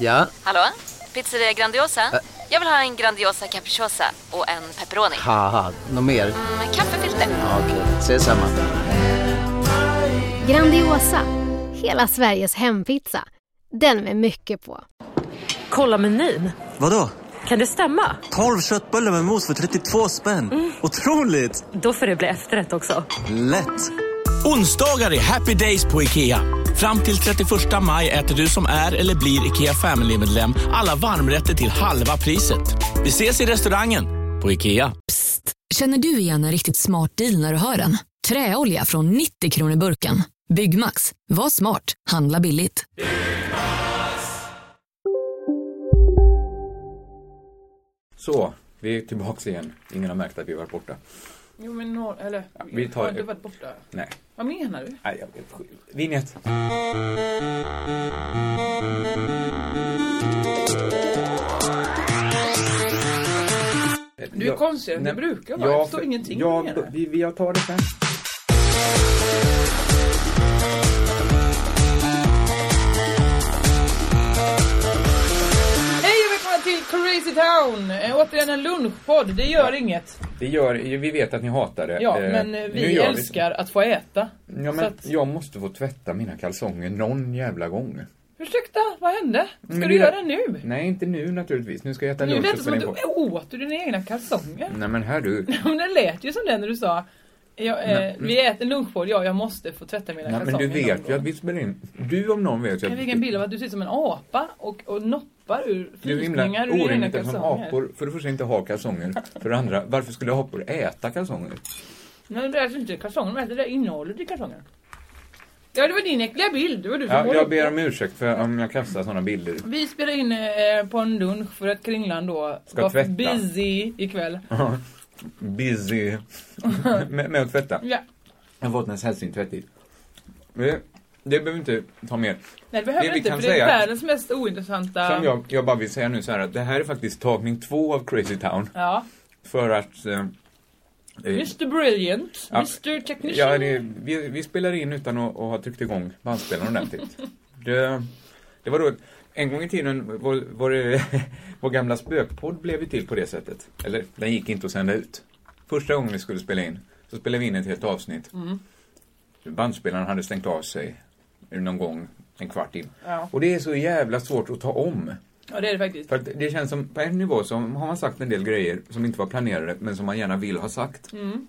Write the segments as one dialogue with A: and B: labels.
A: Ja,
B: Hallå? Pizzeria Grandiosa? Jag vill ha en Grandiosa capriciosa och en pepperoni.
A: haha, något mer?
B: Mm, kaffefilter.
A: Ja, Okej, ses samma.
C: Grandiosa, hela Sveriges hempizza. Den med mycket på.
D: Kolla menyn.
E: Vadå?
D: Kan det stämma?
E: 12 köttbullar med mos för 32 spänn. Otroligt!
D: Då får det bli efterrätt också.
E: Lätt!
F: Onsdagar är happy days på IKEA. Fram till 31 maj äter du som är eller blir IKEA Family-medlem alla varmrätter till halva priset. Vi ses i restaurangen på IKEA.
G: Känner du igen en riktigt smart deal när du hör den? Träolja från 90 kronor burken. Byggmax. Var smart. Handla billigt.
H: Så, vi är tillbaks igen. Ingen har märkt att vi har varit borta.
I: Jo men no, eller...
H: vi tar-
I: Har du varit borta?
H: Nej.
I: Vad menar du?
H: Nej, jag vet. Vinjett.
I: Du är konstigare än du brukar vara. Jag förstår ingenting
H: jag,
I: mer.
H: vi, vi- jag tar det sen.
I: Hej och välkomna till Crazy Town! Eh, återigen en lunchpodd, det gör inget.
H: Det gör, vi vet att ni hatar det.
I: Ja,
H: Eh,
I: men eh,
H: nu
I: vi
H: gör
I: älskar att få äta.
H: Ja,
I: Så
H: men
I: att,
H: jag måste få tvätta mina kalsonger någon jävla gång.
I: ursäkta, vad hände? Ska
H: Men
I: du
H: det-
I: göra det nu?
H: Nej, inte nu naturligtvis. Nu ska jag äta
I: Nu
H: lunch
I: lät
H: och
I: det som
H: spela
I: att
H: in
I: du
H: på. Mm.
I: åt du dina egna kalsonger.
H: Nej men hör du.
I: Men det lät ju som det när du sa ja, eh,
H: Nej.
I: vi äter lunchpodd, ja jag måste få tvätta mina
H: Nej, men
I: kalsonger.
H: du vet
I: någon
H: ju
I: gång.
H: att vi spelar in. Du om någon vet ju
I: Jag
H: att
I: fick en bild av att du ser ut som en apa och, och noppar ur
H: det är himla
I: flikningar ur dina
H: orimligt eftersom
I: kalsonger.
H: apor för det första inte har kalsonger. För det andra, varför skulle apor äta kalsonger?
I: Nej, de äter inte kalsonger, de äter det där innehållet i kalsongerna. Ja, det var din äckliga bild. Det var du som
H: Ja,
I: målade
H: jag
I: upp
H: ber
I: den.
H: om ursäkt för om jag kastar sådana bilder.
I: Vi spelar in eh, på en lunch för att Kringland då
H: Ska
I: var
H: tvätta.
I: busy ikväll.
H: Busy med, med att tvätta.
I: Ja.
H: Jag har fått en sällsynt tvätttid. Det, det behöver inte ta mer.
I: Nej, det behöver
H: Det vi
I: vi inte
H: kan
I: för det är
H: säga-
I: världens mest ointressanta...
H: Som jag, jag bara vill säga nu så här att det här är faktiskt tagning två av Crazy Town.
I: Ja.
H: För att... Eh, eh,
I: Mr Brilliant,
H: Ja.
I: Mr Technician.
H: ja, det, vi, vi spelar in utan att, att ha tryckt igång bandspelaren ordentligt. Det, det var då... En gång i tiden var, var det, vår gamla spökpodd blev ju till på det sättet. Eller, den gick inte att sända ut. Första gången vi skulle spela in så spelade vi in ett helt avsnitt.
I: Mm.
H: Bandspelaren hade stängt av sig någon gång en kvart in.
I: Ja.
H: Och det är så jävla svårt att ta om.
I: ja, det är det faktiskt.
H: För att det känns som, på en nivå så har man sagt en del grejer som inte var planerade men som man gärna vill ha sagt.
I: Mm.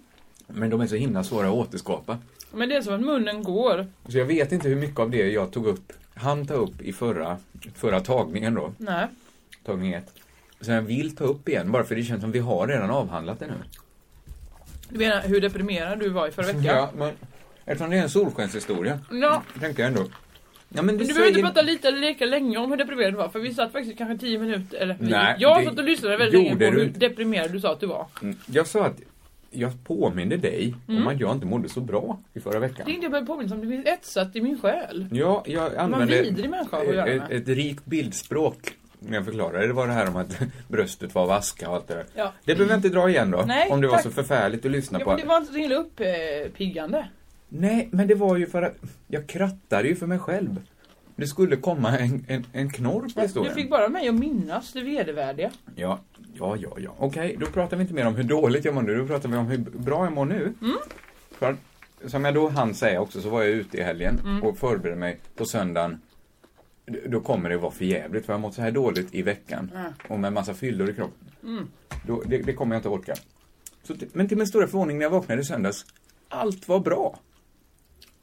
H: Men de är så himla svåra att återskapa.
I: Men det är som att munnen går.
H: Så jag vet inte hur mycket av det jag tog upp, han ta upp i förra, förra tagningen då,
I: Nej.
H: tagning ett. Så jag vill ta upp igen bara för det känns som vi har redan avhandlat det nu.
I: Du menar hur deprimerad du var i förra veckan?
H: Ja, men eftersom det är en solskenshistoria,
I: Ja.
H: tänker jag ändå. Ja, men det
I: Men du behöver inte prata lite eller lika länge om hur deprimerad du var för vi satt faktiskt kanske 10 minuter eller vi.
H: Nej,
I: jag
H: det
I: satt och lyssnade väldigt länge
H: gjorde
I: på
H: du
I: hur
H: inte.
I: deprimerad du sa att du var.
H: Mm, Jag sa att jag påminde dig om att jag inte mådde så bra i förra veckan.
I: Mm. Det är inte jag behöver påminna om, det finns etsat i min själ.
H: Ja, jag använde
I: vidrig människa att göra
H: ett,
I: med.
H: ett rikt bildspråk när jag förklarade. Det var det här om att bröstet var av aska och allt det där.
I: Ja.
H: Det behöver jag inte dra igen då.
I: Nej,
H: om det var
I: tack.
H: så förfärligt att lyssna
I: Ja,
H: på.
I: men det var inte eh, så himla uppiggande.
H: Nej, men det var ju för att jag krattade ju för mig själv. Det skulle komma en, en, en knorr på
I: Du
H: historien.
I: fick bara mig att minnas det vedervärdiga.
H: Ja, ja, ja. ja. Okej, då pratar vi inte mer om hur dåligt jag mår nu. Då pratar vi om hur bra jag mår nu.
I: Mm.
H: För att, som jag då hann säga också så var jag ute i helgen
I: Mm.
H: och förberedde mig på söndagen. D- Då kommer det vara för jävligt för jag har mått så här dåligt i veckan
I: Mm.
H: och med massa fyllor i kroppen. Då, det, det kommer jag inte orka. Så, t- men till min stora förvåning när jag vaknade i söndags, allt var bra.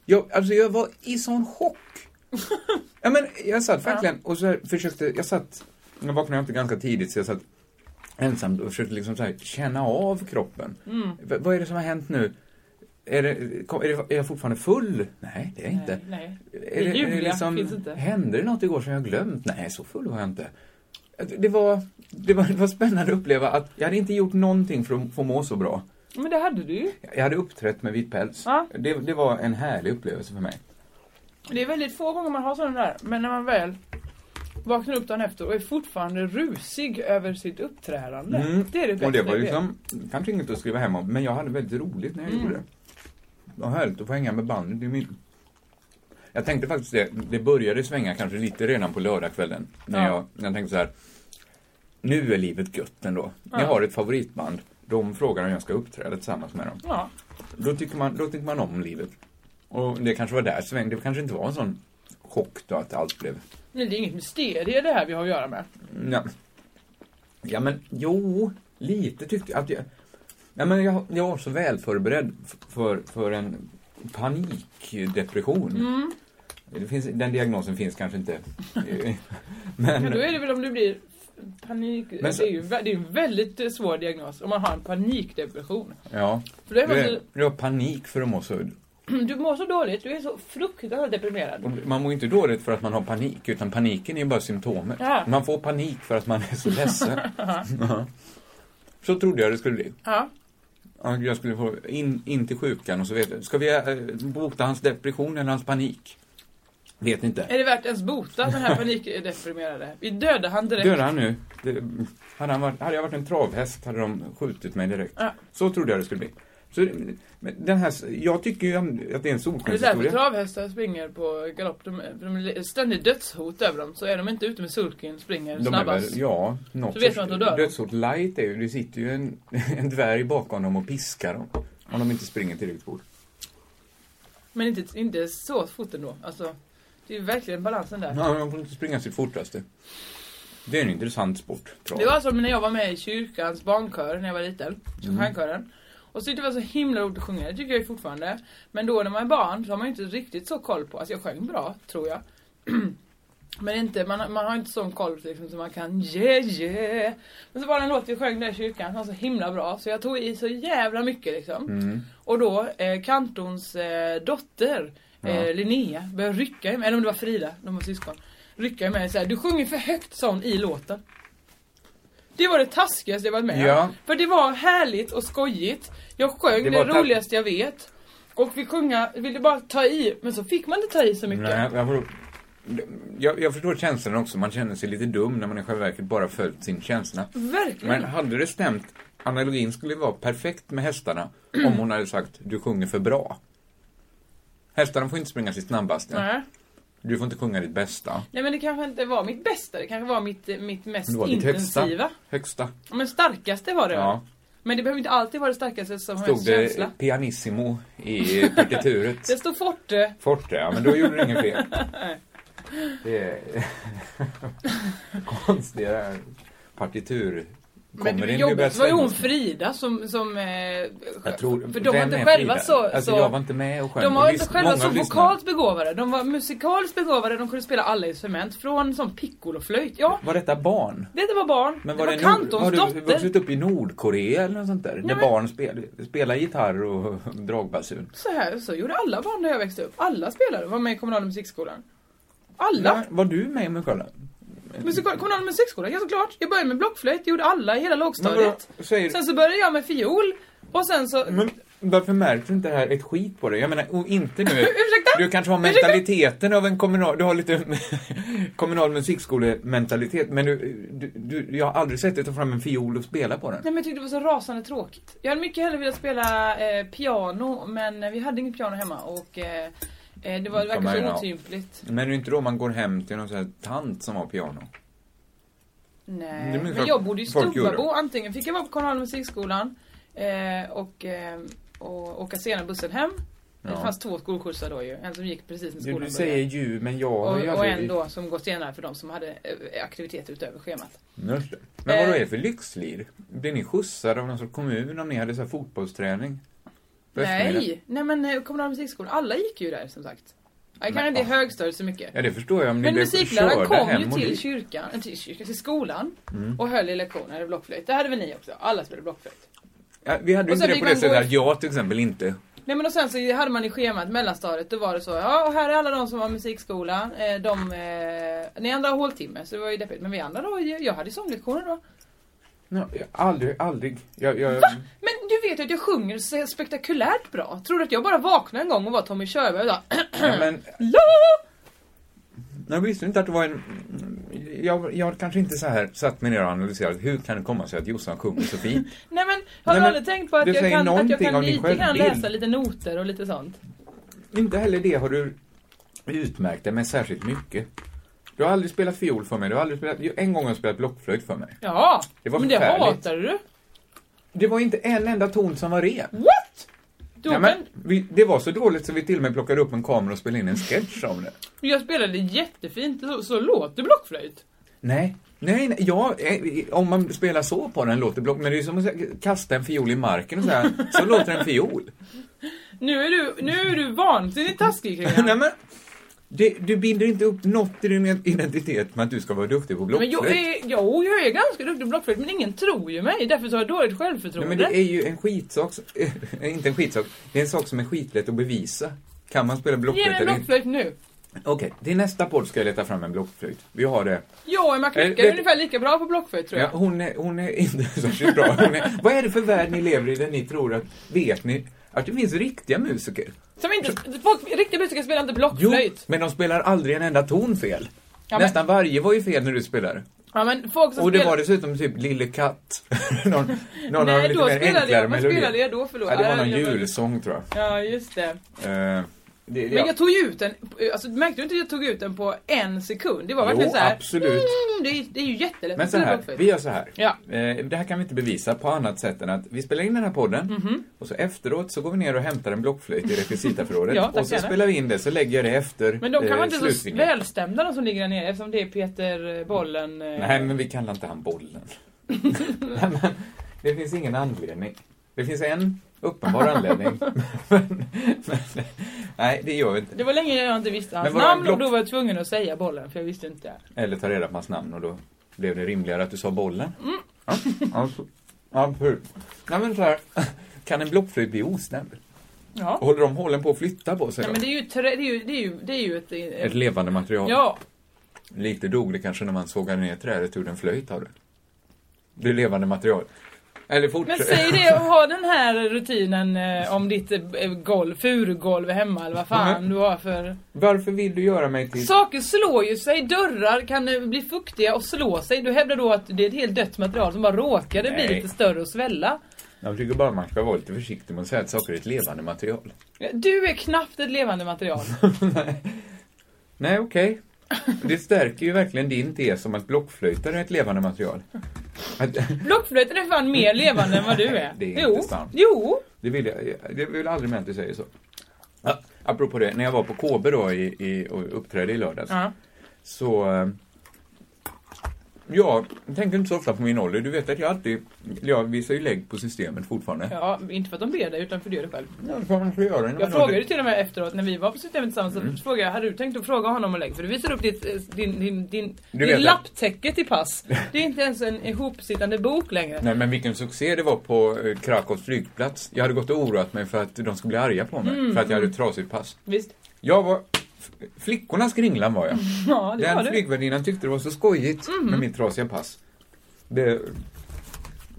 H: Jag, alltså jag var i sån chock. ja, men jag satt verkligen och så här försökte, jag satt, jag vaknade inte ganska tidigt så jag satt ensam och försökte liksom så här känna av kroppen.
I: Mm.
H: V- vad är det som har hänt nu? Är, det, kom, är, det, är jag fortfarande full? Nej, det är jag inte.
I: Nej,
H: Är
I: Det är
H: det, är det
I: Julia,
H: liksom,
I: finns inte.
H: Hände det något igår som jag har glömt? Nej, så full var jag inte. Det var, det, var, det var spännande att uppleva att jag hade inte gjort någonting för att få må så bra.
I: Men det hade du ju.
H: Jag hade uppträtt med vit päls.
I: Ja.
H: Det, det var en härlig upplevelse för mig.
I: Det är väldigt få gånger man har sådana där. Men när man väl vaknar upp dagen efter och är fortfarande rusig över sitt uppträdande. Mm. Det är det bästa
H: Mm. Och det var
I: jag vet. Mm.
H: liksom, kanske inget att skriva hem om, men jag hade väldigt roligt när jag gjorde det. Vad härligt att få hänga med bandet. Det är min... Jag tänkte faktiskt det, det började svänga kanske lite redan på lördagskvällen. När
I: Ja.
H: jag, när jag tänkte så här, nu är livet gött ändå. Jag har ett favoritband, de frågar om jag ska uppträda tillsammans med dem.
I: Ja.
H: Då tycker man, då tycker man om livet. Och det kanske var där sväng, det kanske inte var en sån chock då att allt blev...
I: Men det är inget mysterie det här vi har att göra med.
H: Mm. Ja, ja men jo, lite tyckte jag. Att jag ja, men jag, jag var så väl förberedd f- för, för en panikdepression. Det finns, den diagnosen finns kanske inte. Eh,
I: Men då
H: men,
I: är det väl om du blir f- panik...
H: Men så-
I: Det är ju vä- det är en väldigt eh, svår diagnos om man har en panikdepression.
H: ja.
I: För då är
H: Det
I: man
H: är,
I: så,
H: det var panik för att må så...
I: du mår så dåligt, du är så fruktansvärt deprimerad.
H: Man mår ju inte dåligt för att man har panik, utan paniken är ju bara symptomet.
I: Ja.
H: Man får panik för att man är så ledsen. Ja. så trodde jag det skulle bli.
I: Ja.
H: Ja, Jag skulle få in, in till sjukan och så vet jag. Ska vi eh, bota hans depression eller hans panik? Vet inte.
I: Är det värt ens bota den här panikdeprimerade? Vi dödar han direkt.
H: Dör han nu? Det, hade, han varit, hade jag varit en travhäst hade de skjutit mig direkt.
I: Ja.
H: Så trodde jag det skulle bli. Så, det- men den här, jag tycker ju att det är en
I: Det är därför
H: solskenshistoria.
I: travhästar springer på galopp. De, de är ständigt dödshot över dem. Så är de inte ute med sulken springer
H: De är väl,
I: snabbast.
H: ja, något
I: Så vet man att de dör.
H: dödsort light är ju, det sitter ju en, en dvärg bakom dem och piskar dem. Om de inte springer tillräckligt fort.
I: Men inte, inte så fort ändå. Alltså, det är verkligen balansen där.
H: Ja, de får inte springa sitt fortaste. Det är en intressant sport, trav.
I: Det var som när jag var med i kyrkans barnkör när jag var liten. Kören. Och så tyckte jag det var så himla roligt att sjunga. Det tycker jag ju fortfarande. Men då när man är barn så har man ju inte riktigt så koll på. Alltså jag sjöng bra, tror jag. Men inte, man, man har inte sån koll liksom, så man kan yeah yeah. Men så var det en låt vi sjöng där i kyrkan som var så himla bra så jag tog i så jävla mycket liksom. Och då eh, kantorns eh, dotter eh, Linnea började rycka i mig, eller om det var Frida, de var syskon. Rycka i mig såhär, du sjunger för högt sa hon i låten. Det var det taskigaste jag varit med om.
H: Ja.
I: För det var härligt och skojigt. Jag sjöng
H: Det
I: det,
H: var ta-
I: roligaste jag vet. Och vi sjunga, ville bara ta i, men så fick man inte ta i så mycket.
H: Nej, jag, förstår, jag, jag förstår känslan också. Man känner sig lite dum när man i själva verket bara följt sin känsla.
I: Verkligen.
H: Men hade det stämt, analogin skulle vara perfekt med hästarna om hon hade sagt du sjunger för bra. Hästarna får inte springa sitt snabbaste.
I: Nej.
H: Du får inte sjunga ditt bästa.
I: Nej men det kanske inte var mitt bästa, det kanske var mitt, eh, mitt mest
H: Det var ditt högsta.
I: intensiva.
H: Högsta.
I: Ja, Men starkaste var det
H: Ja.
I: väl? Men det behöver inte alltid vara det starkaste som har
H: Stod
I: ens
H: det
I: känsla.
H: pianissimo i partituret.
I: Det eh, stod forte.
H: Forte, ja men då gjorde du inget fel. Det är konstiga partitur. Kommer
I: Men det,
H: in i
I: var jobbigt. det var ju
H: bästa-
I: hon Frida som... som eh,
H: Jag tror,
I: för de var
H: vem
I: inte
H: är
I: själva
H: Frida?
I: så...
H: Alltså
I: så
H: jag var inte med och sjöng.
I: de var
H: Och
I: inte
H: lys-
I: själva
H: många
I: så
H: lyssnade.
I: vokalt begåvade. De var musikaliskt begåvade, de kunde spela alla instrument. Från som piccoloflöjt. Ja,
H: Var detta barn?
I: det var barn.
H: Men
I: det
H: var,
I: var
H: det
I: kantorns
H: Nord, Har du
I: dotter.
H: vuxit upp i Nordkorea eller något sånt där? där
I: men-
H: barn spel, spelar gitarr och dragbasun.
I: Så här så gjorde alla barn när jag växte upp. Alla spelade, var med i kommunala musikskolan. Alla!
H: Ja, Var du med i Muskala?
I: Musikal, kommunal musikskola, ja såklart. Jag började med blockflöjt, det gjorde alla i hela lågstadiet.
H: Men vadå, säger-
I: Sen så började jag med fiol. Och sen så...
H: Men varför märker du inte det här ett skit på dig? Jag menar, och inte nu.
I: Ursäkta?
H: Du kanske har
I: Ursäkta?
H: mentaliteten av en kommunal, du har lite kommunal musikskolementalitet, men du, du, du, jag har aldrig sett dig ta fram en fiol och spela på den.
I: Nej men jag tyckte det var så rasande tråkigt. Jag hade mycket hellre velat spela eh, piano, men eh, vi hade inget piano hemma och eh, eh, det var det
H: Kommer
I: verkade
H: jag
I: så
H: ihåg.
I: otympligt.
H: Men det är ju inte då man går hem till någon sån här tant som har piano.
I: Nej.
H: Det minns
I: Men
H: jag
I: jag bodde i
H: folk gjorde.
I: Stubbabo, antingen fick jag vara på kommunala musikskolan eh, och, eh, och åka senare bussen hem. Det
H: Ja.
I: fanns två skolskjutsar då ju, en som gick precis när
H: Du,
I: skolan
H: du
I: började.
H: säger ju, men jag har ju
I: Och, och
H: aldrig...
I: en då som går senare för de som hade eh, aktiviteter utöver schemat.
H: Just det. Men vad
I: Eh.
H: är det för lyxlir? Blir ni skjutsade av någon sorts kommun om ni hade så här fotbollsträning? På eftermiddagen?
I: Nej, nej men eh, kommunala musikskolan, alla gick ju där som sagt. Jag kan
H: Men,
I: inte i
H: ah.
I: högstadiet så mycket.
H: Ja, det förstår jag om ni
I: Men
H: blev
I: musikläraren
H: körda
I: kom
H: hem
I: ju
H: och Mm.
I: till
H: dit.
I: kyrkan, eh, till, kyrkan, till skolan och höll i lektioner i blockflöjt. Det hade väl ni också? Alla spelade blockflöjt.
H: Ja, vi hade ju
I: Och
H: inte
I: sen
H: det
I: fick
H: på det
I: man gå
H: sättet
I: i-
H: att jag till exempel inte
I: Nej men och sen så hade man i schemat mellanstadiet, då var det så, ja och här är alla de som var musikskola, eh, de, eh, ni andra har håltimme så det var ju deppigt. Men vi andra då, jag jag hade ju sånglektioner då.
H: Nej, jag- aldrig, aldrig. Jag, jag,
I: Men du vet ju att jag sjunger så spektakulärt bra. Tror du att jag bara vaknade en gång och var Tommy Körberg och bara,
H: ja, men,
I: la!
H: jag visste inte att det var en... Jag, jag har kanske inte så här satt mig ner och analyserat hur kan det komma sig att Jossan sjunger så fint?
I: Nej men
H: Nej,
I: har
H: men
I: du aldrig tänkt på att
H: det
I: jag,
H: säger
I: kan, att jag
H: någonting
I: kan
H: om din
I: lite grann
H: självbild.
I: läsa lite noter och lite sånt?
H: inte heller det har du utmärkte mig särskilt mycket. Du har aldrig spelat fiol för mig, du har aldrig spelat... jo, En gång har du spelat blockflöjt för mig.
I: Jaha,
H: Det var
I: men det
H: förfärligt.
I: hatar du.
H: Det var inte en enda ton som var ren.
I: What? Mm, Då
H: Ja, men,
I: men...
H: vi, det var så dåligt så vi till och med plockade upp en kamera och spelade in en sketch om det.
I: Jag spelade jättefint, så, så låter blockflöjt.
H: Nej. Nej, nej ja, eh, om man spelar så på den låter block, men det är som att säga, kasta en fiol i marken och så här, så låter en fiol.
I: Nu är du, nu är du vansinnigt taskig kring
H: Nej men, det, du binder inte upp något i din identitet med att du ska vara duktig på
I: Men
H: blockflöjt.
I: jag är, jo, jag är ganska duktig på blockflöjt men ingen tror ju mig därför så har jag dåligt
H: Nej,
I: självförtroende.
H: men det är ju en skitsak, som- inte en skitsak, det är en sak som är skitlätt att bevisa. Kan man spela
I: Ge
H: blockflöjt
I: mig
H: eller inte?
I: blockflöjt nu.
H: Okej, till nästa podd ska jag leta fram en blockflöjt. Vi har det.
I: Jag och Emma
H: Eh,
I: Klicka
H: det-
I: är ungefär lika bra på blockflöjt tror
H: Ja,
I: jag.
H: hon, är, hon är inte särskilt bra. Hon är, vad är det för värld ni lever i där ni tror att, vet ni, att det finns riktiga musiker?
I: Som inte, folk, riktiga musiker spelar inte blockflöjt.
H: men de spelar aldrig en enda ton fel.
I: Ja, men-
H: Nästan varje var ju fel när du spelar.
I: Ja men folk som
H: Och det
I: spelar...
H: var dessutom typ Lille Katt. någon någon av de
I: Nej,
H: lite
I: då
H: mer
I: spelade jag,
H: enklare
I: vad
H: melodier.
I: spelade jag då för låt?
H: Ja, det var
I: Ja,
H: någon
I: jag-
H: julsång tror jag.
I: Ja, just det.
H: Eh, det,
I: Men
H: ja.
I: jag tog ju ut den, alltså märkte du inte att jag tog ut den på en sekund? Det var verkligen
H: Jo,
I: så här.
H: absolut.
I: Mm, det, är, det är ju jättelätt
H: Men
I: att
H: så
I: spela
H: här,
I: blockflöjt.
H: vi gör så här.
I: Ja.
H: Eh, det här kan vi inte bevisa på annat sätt än att vi spelar in den här podden
I: Mhm.
H: och så efteråt så går vi ner och hämtar en blockflöjt i rekvisitaförrådet
I: Ja, tack
H: och så
I: gärna.
H: spelar vi in det så lägger jag det efter
I: Men de kan
H: eh,
I: vara inte så
H: slutvinjen.
I: välstämda de som ligger där nere eftersom det är Peter eh, Bollen. eh,
H: Nej, men vi kallar inte han bollen. Nej, men det finns ingen anledning. Det finns en uppenbar anledning. men, men, nej, det gör vi inte.
I: Det var länge jag inte visste hans
H: Men var det
I: namn
H: block-
I: och då var jag tvungen att säga bollen för jag visste inte.
H: Eller ta reda på hans namn och då blev det rimligare att du sa bollen.
I: Mm.
H: Ja, alltså, absolut. Nej, men så här. Kan en blockflöjt bli osnäbb?
I: Ja.
H: Håller de hålen på att flytta på sig
I: Nej,
H: då?
I: men det är ju, trä, det är ju, det är ju, det är ju ett... eh,
H: Ett levande material.
I: ja.
H: Lite dog det kanske när man sågade ner trädet ur en flöjt av det. Det är levande material. Eller
I: Men
H: fortsätt.
I: säg det och ha den här rutinen eh, om ditt eh, golv, furugolv hemma eller vad fan
H: Mm.
I: du har för...
H: Varför vill du göra mig till...
I: Saker slår ju sig, dörrar kan eh, bli fuktiga och slå sig. Du hävdar då att det är ett helt dött material som bara råkade bli
H: Nej.
I: lite större och svälla.
H: Jag tycker bara man ska vara lite försiktig med att säga att saker är ett levande material.
I: Du är knappt ett levande material.
H: Nej, okej. Det stärker ju verkligen din tes om att blockflöjtar är ett levande material. Att,
I: Blockflöjten är fan mer levande än vad du är.
H: Det är
I: jo.
H: inte sant.
I: Jo.
H: det vill jag det vill aldrig med att du säger så. Ja, apropå det, när jag var på KB då i, i, och uppträdde i lördags.
I: Ja.
H: Så... eh, Ja, jag tänker inte så ofta på min ålder. Du vet att jag alltid... Jag visar ju lägg på systemet fortfarande.
I: Ja, inte för att de ber dig utan för du gör det själv.
H: Ja, det får man få göra. när man
I: Jag frågade ju
H: ålder.
I: till och med efteråt när vi var på systemet tillsammans,
H: Mm.
I: så frågade jag, hade du tänkt att fråga honom och lägga? För du visar upp ditt, eh, din, din, din,
H: Du
I: din
H: vet
I: lapptäcke till pass. Det är inte ens en ihopsittande bok längre.
H: Nej, men vilken succé det var på eh, Krakows flygplats. Jag hade gått och oroat mig för att de skulle bli arga på mig. för att jag hade
I: Mm.
H: ett trasigt pass.
I: Visst?
H: Jag var... f- Flickornas kringlan var jag.
I: Ja, Mm. det var Mm.
H: Den
I: det.
H: flygvärdinnan tyckte det var så skojigt med mitt trasiga pass. Det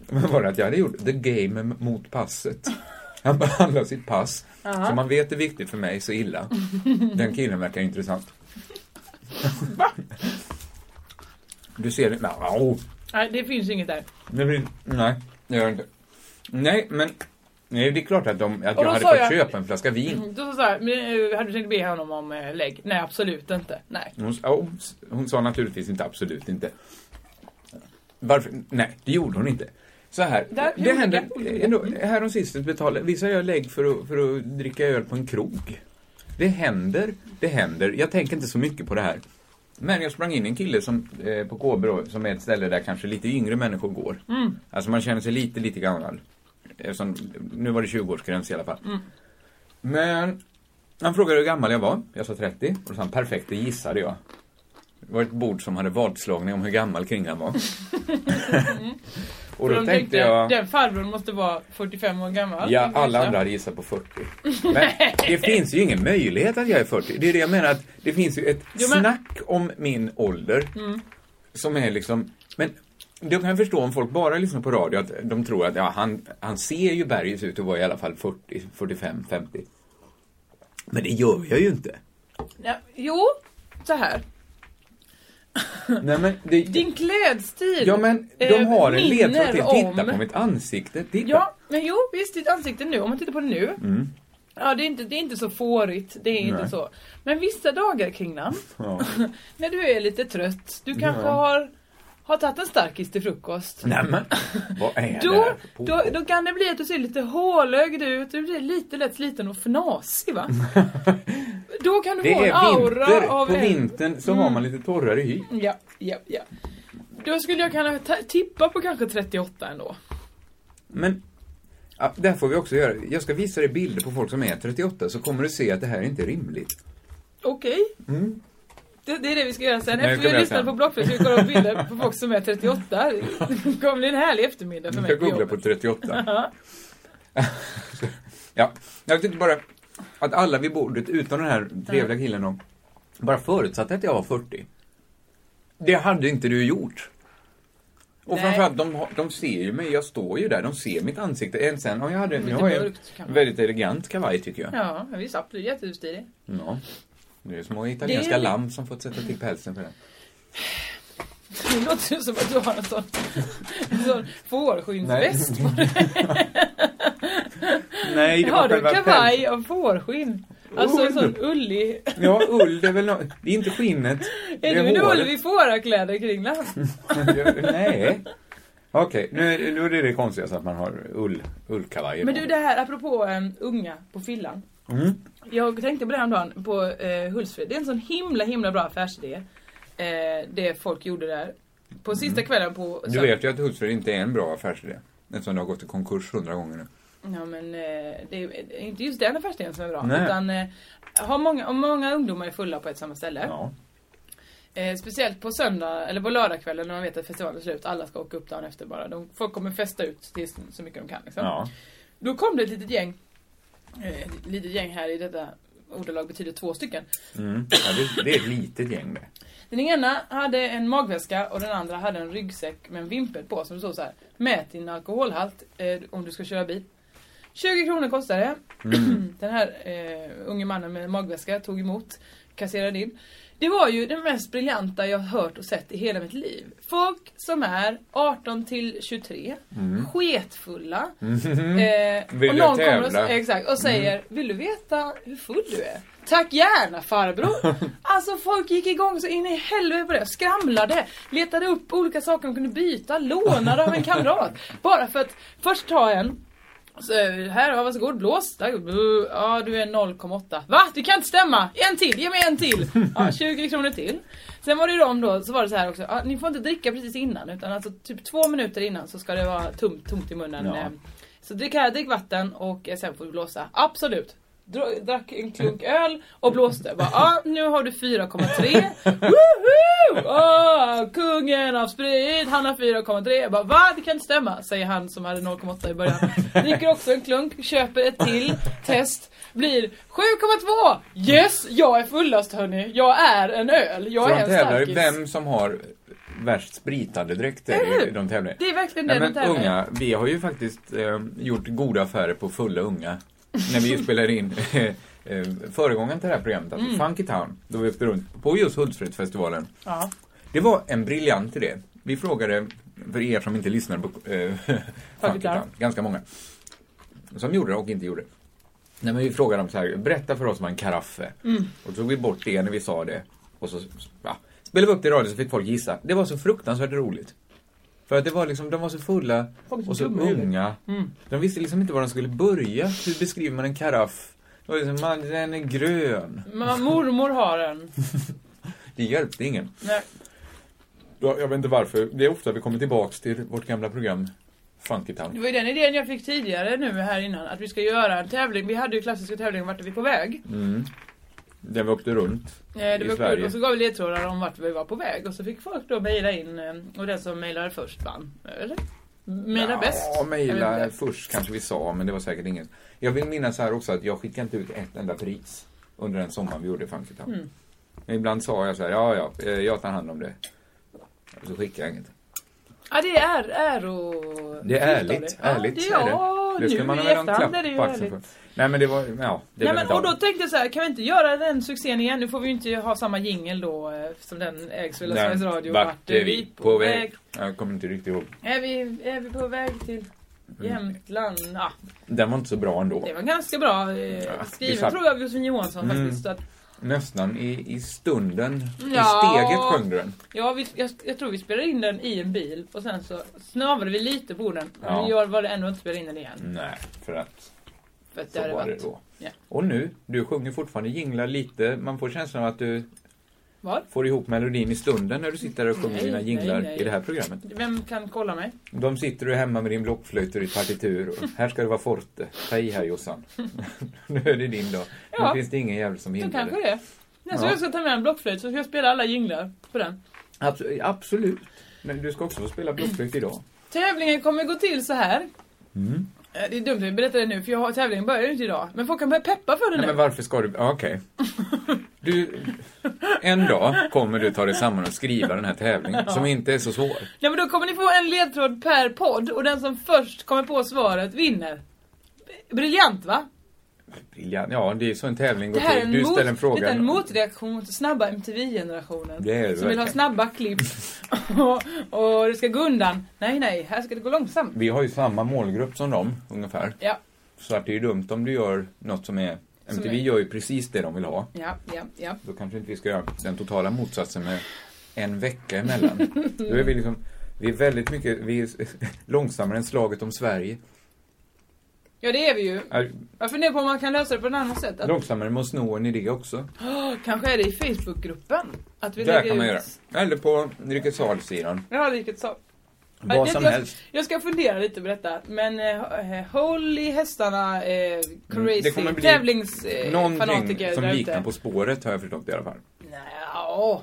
H: vad var det att jag hade gjort the game mot passet. Han behandlar sitt pass, som man vet är viktigt för mig, så illa. Den killen verkar intressant. Du ser det... No.
I: Nej, det finns inget där.
H: Det blir, nej, det gör jag inte. Nej, men... Nej, det är klart att, de, att
I: Och
H: jag
I: då
H: hade
I: sa
H: fått
I: jag-
H: köpa en flaska vin.
I: Då sa jag så här, men, eh, hade du tänkt be honom om eh, lägg? Nej, absolut inte. Nej.
H: Hon, ja, hon, hon sa naturligtvis inte absolut inte. Varför? Nej, det gjorde hon inte. Så här,
I: Där-
H: det
I: jo,
H: hände
I: där-
H: ändå, härom sistens betalade, vissa jag lägg för att, för att dricka öl på en krog. Det händer, det händer. Jag tänker inte så mycket på det här. Men jag sprang in i en kille som, eh, på KB då, som är ett ställe där kanske lite yngre människor går. Alltså man känner sig lite, lite gammal. Eftersom, nu var det 20-årsgräns i alla fall. Men han frågade hur gammal jag var. Jag sa 30. Och då sa han perfekt, det gissade jag. Det var ett bord som hade vadslagning om hur gammal kringlan var. och
I: Mm. För
H: då
I: de
H: tänkte jag...
I: Den farbrorn måste vara 45 år gammal.
H: Ja, alla andra hade gissat på 40. Men det finns ju ingen möjlighet att jag är 40. Det är det jag menar, att det finns ju ett
I: Jo, men- Mm.
H: snack om min ålder som är liksom... Men då kan jag förstå om folk bara lyssnar på radio att de tror att ja, han, han ser ju Bergis ut att vara i alla fall 40, 45, 50. Men det gör jag ju inte.
I: Ja, jo, så här.
H: Nej, men det,
I: Din klädstil
H: ja, men de
I: eh,
H: har en
I: minner
H: ledtråd till. Titta
I: om-
H: på mitt ansikte. Titta.
I: Ja, men jo visst ditt ansikte nu, om man tittar på det nu Ja, det är inte, det är inte så fårigt. Det är inte
H: Mm. Nej.
I: så. Men vissa dagar Kringlan,
H: Ja.
I: när du är lite trött, du kanske har, har tagit en starkis till frukost.
H: Nämen, vad är det
I: Då,
H: här?
I: då, då kan det bli att du ser lite hålögd ut, du blir lite lätt sliten och fnasig va? då kan du
H: Det
I: få en
H: är
I: aura
H: vinter.
I: av
H: På
I: en... Mm.
H: vintern så har man lite torrare hy.
I: Ja, ja, ja. Då skulle jag kunna ta- tippa på kanske 38 ändå.
H: Men ja, det här får vi också göra. Jag ska visa dig bilder på folk som är 38 så kommer du se att det här är inte rimligt.
I: Okej.
H: Mm.
I: Det, det är det vi ska göra sen.
H: Nej, det
I: Efter vi
H: ska vi
I: har
H: göra
I: lyssnat
H: sen.
I: på Blockfest ska vi kolla upp bilder på folk som är 38. Det kommer bli en härlig eftermiddag för
H: Du
I: mig
H: ska
I: på
H: googla på
I: jobbet.
H: 38. ja, jag tyckte bara att alla vid bordet, utom den här
I: Mm.
H: trevliga killen då, bara förutsatte att jag var 40. Det hade inte du gjort. Och
I: Nej.
H: framförallt, de, har- de ser ju mig, jag står ju där, de ser mitt ansikte. Än sen, och jag hade,
I: Lite
H: jag har ju
I: Mm. mörkt kan
H: en
I: man-
H: väldigt elegant kavaj tycker jag.
I: Ja, visst. Absolut. Jättestilig.
H: Ja. Det är små italienska
I: Det är-
H: lamm som fått sätta till pälsen för det.
I: Det låter ju som att du har en sån, en sån fårskinnsväst.
H: Nej, det var
I: Har du
H: själva pälsen. Oh,
I: kavaj av fårskinn? Alltså en sån ullig...
H: Ja, ull, det är väl nå- Det är inte skinnet. Det
I: Är du en
H: håret.
I: ulv i fårakläder Kringland?
H: Nej. Okej, nu, är det- nu är det det konstigaste att man har ull, ullkavajer
I: Men
H: på.
I: du det här apropå um, unga på fyllan.
H: Mm.
I: Jag tänkte på det häromdagen på eh, Hultsfred. Det är en sån himla himla bra affärsidé. Eh, det folk gjorde där. På sista kvällen på...
H: Mm. Du vet ju att Hultsfred inte är en bra affärsidé. Eftersom det har gått i konkurs hundra gånger nu.
I: Ja men eh, det är inte just den affärsidén som är bra.
H: Nej.
I: Utan eh, har många, om många ungdomar är fulla på ett samma ställe.
H: Ja.
I: Eh, speciellt på söndag eller på lördagskvällen när man vet att festivalen är slut. Alla ska åka upp dagen efter bara. De, folk kommer festa ut tills, så mycket de kan liksom.
H: ja.
I: Då kom det ett litet gäng. Eh, ett litet gäng här i detta ordalag betyder två stycken.
H: Mm. ja det, det är ett litet gäng det.
I: Den ena hade en magväska och den andra hade en ryggsäck med en vimpel på som det stod så här. Mät din alkoholhalt eh, om du ska köra bil. 20 kronor kostar det.
H: Mm.
I: den här eh, unge mannen med magväska tog emot, kasserade in. Det var ju det mest briljanta jag har hört och sett i hela mitt liv. Folk som är 18 till 23, sketfulla. Eh,
H: Mm. Vill
I: och
H: du
I: någon kommer och,
H: tävla? Mm.
I: exakt, och säger Vill du veta hur full du är? Tack gärna farbror! Alltså folk gick igång så in i helvete på det, skramlade, letade upp olika saker de kunde byta, lånade av en kamrat. Bara för att först ta en så, här, ja, varsågod, blås. Tack. Bu- Ja, du är 0,8. Va? Det kan inte stämma! En till, ge mig en till! Ja, 20 kronor till. Sen var det ju de då, så var det så här också, ja, ni får inte dricka precis innan utan alltså typ två minuter innan så ska det vara tomt, tomt i munnen.
H: Ja.
I: Eh, Så drick här, drick vatten och eh, sen får du blåsa. Absolut! Dra- Drack en klunk öl och blåste. Bara, ja, nu har du 4,3. Woho! Åh, kungen av sprit, han har 4,3. Jag Bara, Va? Det kan inte stämma, säger han som hade 0,8 i början. Dricker också en klunk, köper ett till, test, blir 7,2! Yes, jag är fullast hörni. Jag är en öl, jag
H: Så
I: är
H: de
I: en
H: tävlar i
I: starkis.
H: vem som har värst spritande
I: Eller
H: dräkter.
I: hur?
H: i De tävlar i.
I: Det är verkligen det
H: Nej,
I: de
H: men
I: tävlar i.
H: unga, vi har ju faktiskt eh, gjort goda affärer på fulla unga. När vi spelade in eh, föregången till det här programmet, alltså
I: Mm.
H: Funky Town, då vi åkte runt på just Hultsfredsfestivalen.
I: Ja.
H: Det var en briljant idé. Vi frågade, för er som inte lyssnade på eh,
I: Town.
H: Funky Town, ganska många, som gjorde det och inte gjorde det. Nej, men vi frågade dem så här, berätta för oss vad en karaffe
I: Mm.
H: Och så tog vi bort det när vi sa det. Och så ja, spelade vi upp det i radion så fick folk gissa. Det var så fruktansvärt roligt. För att det var liksom, de var så fulla
I: Folk är så
H: och så
I: dumma i huvudet. Mm.
H: unga. De visste liksom inte var de skulle börja. Hur beskriver man en karaff? Det var liksom, man, den är grön.
I: Men mormor har en.
H: Det hjälpte ingen.
I: Nej.
H: Jag, jag vet inte varför. Det är ofta vi kommer tillbaks till vårt gamla program Funky Town.
I: Det var ju den idén jag fick tidigare nu här innan, att vi ska göra en tävling. Vi hade ju klassiska tävlingen Vart är vi på väg?
H: Där vi åkte runt.
I: Eh, Det var
H: I
I: kul.
H: Sverige.
I: Och så gav vi ledtrådar om vart vi var på väg och så fick folk då mejla in eh, och den som mejlade först vann. Eller? Mejla bäst.
H: Ja,
I: Jag vet
H: mejla
I: inte.
H: först kanske vi sa, men det var säkert ingen. Jag vill minnas här också att jag skickade inte ut ett enda pris under den sommaren vi gjorde Funky Town.
I: Mm.
H: Men ibland sa jag så här, ja, ja, eh, jag tar hand om det. Och så skickade jag inget.
I: Ja det är äro...
H: Det är ärligt.
I: Ja,
H: Ärligt
I: det,
H: så är
I: ja,
H: det. Det
I: nu
H: skulle man
I: i
H: ha väl ha en
I: efterhand är det
H: klapp
I: ju
H: på axeln för.
I: ärligt.
H: Nej, men det var, ja, det är
I: Nej,
H: väl
I: men,
H: inte
I: och då
H: allt.
I: tänkte jag så här, kan vi inte göra den succén igen? Nu får vi ju inte ha samma jingel då eh, som den ägs väl av
H: Nej,
I: Sveriges Radio.
H: Vart är vi på väg? Jag kommer inte riktigt ihåg.
I: Är, vi, är vi på väg till...
H: Mm.
I: Jämtland, ja.
H: Den var inte så bra ändå.
I: Det var ganska bra eh,
H: vi
I: skriven
H: satt-
I: tror jag av Josefin Johansson
H: Mm.
I: faktiskt. Så att,
H: Nästan i, i stunden,
I: Ja.
H: i steget sjöng du den.
I: ja, vi, jag, jag tror vi spelade in den i en bil och sen så snavade vi lite på den.
H: Ja.
I: Men jag var det ändå inte spela in den igen.
H: Nej, för att
I: För att det
H: så
I: hade
H: var det
I: varit...
H: då.
I: Ja.
H: Och nu, du sjunger fortfarande, jinglar lite. Man får känslan av att du
I: Vad?
H: får ihop melodin i stunden när du sitter där och sjunger
I: Nej,
H: dina
I: nej,
H: jinglar
I: nej.
H: i det här programmet.
I: Vem kan kolla mig?
H: De sitter du hemma med din blockflöjt och ditt partitur. Och här ska det vara forte. Ta i här Jossan. nu är det din dag.
I: Ja.
H: Nu finns det ingen jävel som
I: Så
H: hindrar
I: kanske
H: det.
I: det. Jag ska
H: Ja.
I: jag ska ta med en blockflöjt så ska jag spela alla jinglar på den.
H: Abs- absolut. Men du ska också få spela blockflöjt idag.
I: Tävlingen kommer gå till så här.
H: Mm.
I: Eh, Det är dumt att jag berättar det nu för jag har, tävlingen börjar ju inte idag. Men folk kan börja peppa för den
H: Nej, men
I: nu.
H: varför ska du... ja, Okej. Du... En dag kommer du ta dig samman och skriva den här tävlingen som inte är så svår.
I: Nej men då kommer ni få en ledtråd per podd och den som först kommer på svaret vinner. B- Briljant va?
H: Briljant. Ja, det är så en tävling går
I: Det här är
H: till.
I: en,
H: Du
I: mot,
H: ställer en
I: lite
H: fråga.
I: en motreaktion mot snabba MTV-generationen.
H: Det är det
I: som vill ha
H: verkligen.
I: snabba klipp. och, och det ska gå undan. Nej nej, här ska det gå långsamt.
H: Vi har ju samma målgrupp som dem, ungefär.
I: Ja,
H: Så att det är ju dumt om du gör något som är... MTV
I: är-
H: gör ju precis det de vill ha.
I: ja, ja, ja.
H: Då kanske inte vi ska göra den totala motsatsen med en vecka emellan. Då är vi liksom... Vi är väldigt mycket... Vi är långsammare än slaget om Sverige.
I: Ja det är vi ju.
H: Är-
I: Jag funderar på om man kan lösa det på ett annat sätt. Att,
H: Långsammare med att sno en idé också.
I: Åh, kanske är det i Facebookgruppen. Att vi
H: Där
I: lägger
H: kan man
I: ut-
H: göra. Eller på Rikesal-sidan.
I: Ja, vilket så.
H: Vad
I: jag,
H: som
I: jag,
H: helst.
I: Jag ska fundera lite på detta, men eh, håll i hästarna eh,
H: Mm,
I: crazy eh,
H: kommer bli
I: tävlingsfanatiker
H: Någonting som liknar På spåret har jag förstått i alla fall.
I: Nja,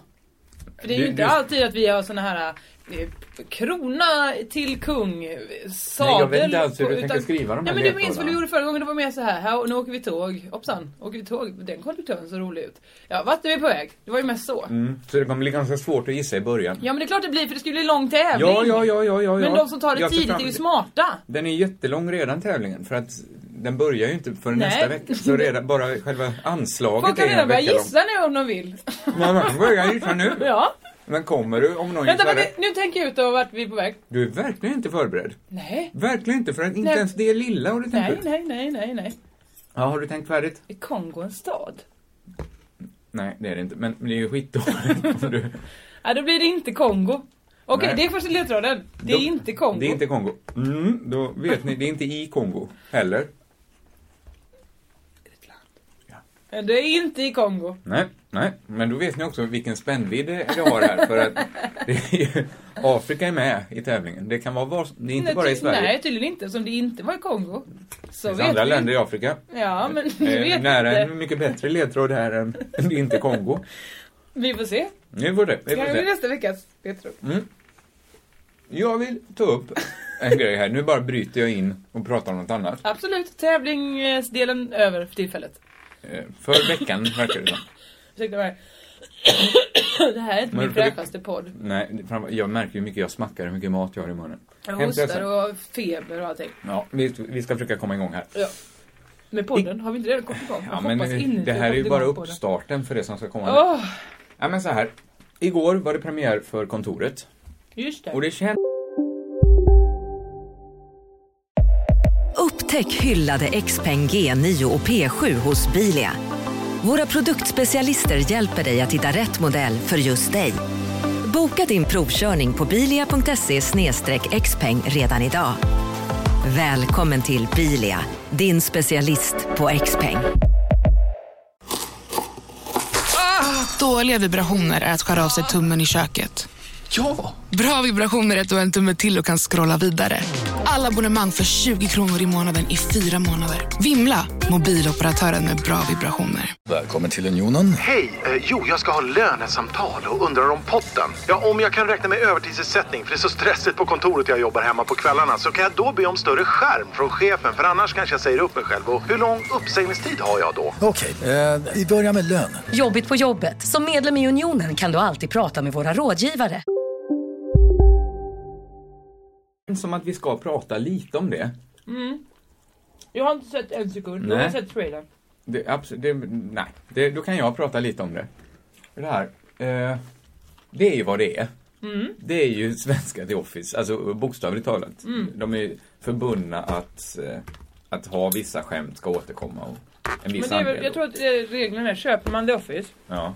I: för det är ju
H: Du-
I: inte
H: du-
I: alltid att vi har såna här eh, krona till kung, eh, sadel.
H: Nej, jag vet inte alls hur
I: på-
H: du tänker skriva de
I: Nej
H: här
I: men du minns väl
H: ledtrådarna?
I: du gjorde förra gången, det var mer så här, här nu åker vi tåg, hoppsan, åker vi tåg, den konduktören såg rolig ut. Ja, vart är vi på väg? Det var ju mest så.
H: Mm. Så det kommer bli ganska svårt att gissa i början.
I: Ja men det är klart det blir för det skulle bli lång tävling.
H: Ja, ja, ja, ja, ja.
I: Men
H: ja.
I: de som tar det
H: Jag ser
I: tidigt
H: fram-
I: är ju smarta.
H: Den är jättelång redan tävlingen för att den börjar ju inte förrän
I: Nej.
H: nästa vecka. Så redan bara själva anslaget
I: Folk kan
H: är en
I: redan börja
H: vecka långt.
I: gissa nu om de vill.
H: Nej, men börja gissa nu.
I: Ja.
H: Men kommer du om någon
I: Vänta,
H: gissar
I: men
H: rätt?
I: nu, nu tänker jag ut och vart vi är på väg.
H: Du är verkligen inte förberedd.
I: Nej.
H: Verkligen inte för att inte
I: Nej.
H: ens det lilla har du tänkt
I: Nej,
H: ut.
I: nej, nej, nej, nej.
H: Ja, har du tänkt färdigt?
I: Är Kongo en stad?
H: Nej, det är det inte. Men, men det är ju skitdåligt. om du-
I: Ja, då blir det inte Kongo. Okej,
H: Nej.
I: det är första ledtråden. Det är
H: Då-
I: inte Kongo.
H: Det är inte Kongo. Mm, då vet ni, det är inte i Kongo heller.
I: Det är inte i Kongo.
H: Nej, nej. Men då vet ni också vilken spännvidd det det har här. För att det är ju, Afrika är med i tävlingen. Det kan vara var, det är inte
I: nej,
H: bara i
I: ty-
H: Sverige.
I: Nej, tydligen inte. Som det inte var i Kongo. Så
H: det
I: vet
H: finns andra
I: vi.
H: länder i Afrika.
I: Ja, men
H: Eh,
I: vi vet
H: nära en
I: inte.
H: mycket bättre ledtråd här än det är inte Kongo.
I: Vi får se.
H: Nu får det. Vi får
I: Kanske blir
H: se. Mm.
I: nästa veckas ledtråd.
H: Jag vill ta upp en grej här. Nu bara bryter jag in och pratar om något annat.
I: Absolut, tävlingsdelen över för tillfället.
H: Eh, För veckan, verkar det som.
I: Ursäkta mig. Det här är inte
H: Men
I: min
H: för det-
I: fräschaste podd.
H: Nej, det- framför- jag märker hur mycket jag smackar, hur mycket mat jag har i munnen.
I: Jag
H: Hämtar
I: hostar
H: sen.
I: och feber och allting.
H: Ja, vi, vi ska försöka komma igång här.
I: Ja. Med podden, har vi inte redan kommit igång? Jag
H: Ja, men
I: hoppas
H: eh,
I: innerligt
H: det här är
I: att
H: ju bara
I: går på den.
H: uppstarten för det som ska komma. nu.
I: Åh,
H: Ja, men så här. Igår var det premiär för kontoret.
I: just det.
H: Och det känns...
J: Upptäck hyllade XPeng G9 och P7 hos Bilia. Våra produktspecialister hjälper dig att hitta rätt modell för just dig. Boka din provkörning på bilia.se xpeng redan idag. Välkommen till Bilia, din specialist på XPeng.
K: Dåliga vibrationer är att skära av sig tummen i köket.
A: Ja!
K: Bra vibrationer är att du har en tumme till och kan scrolla vidare. Alla abonnemang för 20 kronor i månaden i fyra månader. Vimla! Mobiloperatören med bra vibrationer.
F: Välkommen till Unionen.
L: Hej! Eh, jo, jag ska ha lönesamtal och undrar om potten. Ja, om jag kan räkna med övertidsersättning för det är så stressigt på kontoret jag jobbar hemma på kvällarna så kan jag då be om större skärm från chefen för annars kanske jag säger upp mig själv. Och hur lång uppsägningstid har jag då?
M: Okej, eh, vi börjar med lön.
J: Jobbigt på jobbet. Som medlem i Unionen kan du alltid prata med våra rådgivare.
H: som att vi ska prata lite om det.
I: Jag har inte sett en sekund,
H: Nej.
I: jag har sett trailern.
H: det, absolut, det nej, det, då kan jag prata lite om det. Det här. Eh, det är ju vad det är.
I: Mm.
H: Det är ju svenska The Office, alltså bokstavligt talat.
I: Mm.
H: De är ju förbundna att, eh, att ha vissa skämt ska återkomma och en
I: Men
H: viss
I: det är väl,
H: andel.
I: jag tror att eh, reglerna är, köper man The Office
H: Ja.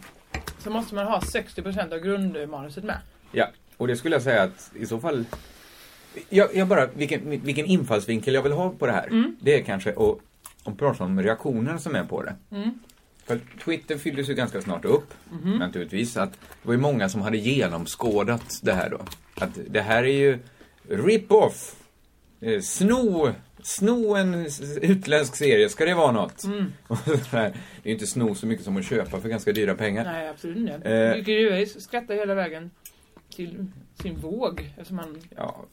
I: så måste man ha 60% av grundmanuset med.
H: ja, och det skulle jag säga att i så fall... Jag, jag bara, vilken, vilken infallsvinkel jag vill ha på det här.
I: Mm.
H: Det är kanske att, att prata om reaktionerna som är på det.
I: Mm.
H: För Twitter fylldes ju ganska snart upp,
I: Mhm.
H: naturligtvis. Att det var ju många som hade genomskådat det här då. Att det här är ju rip-off. Eh, Sno, sno en s- utländsk serie, ska det vara något?
I: Mm.
H: Och det här, det är ju inte sno så mycket som att köpa för ganska dyra pengar.
I: Nej, absolut inte.
H: Eh.
I: Ricky Gervais skrattar hela vägen till sin våg. Eftersom han,
H: Ja,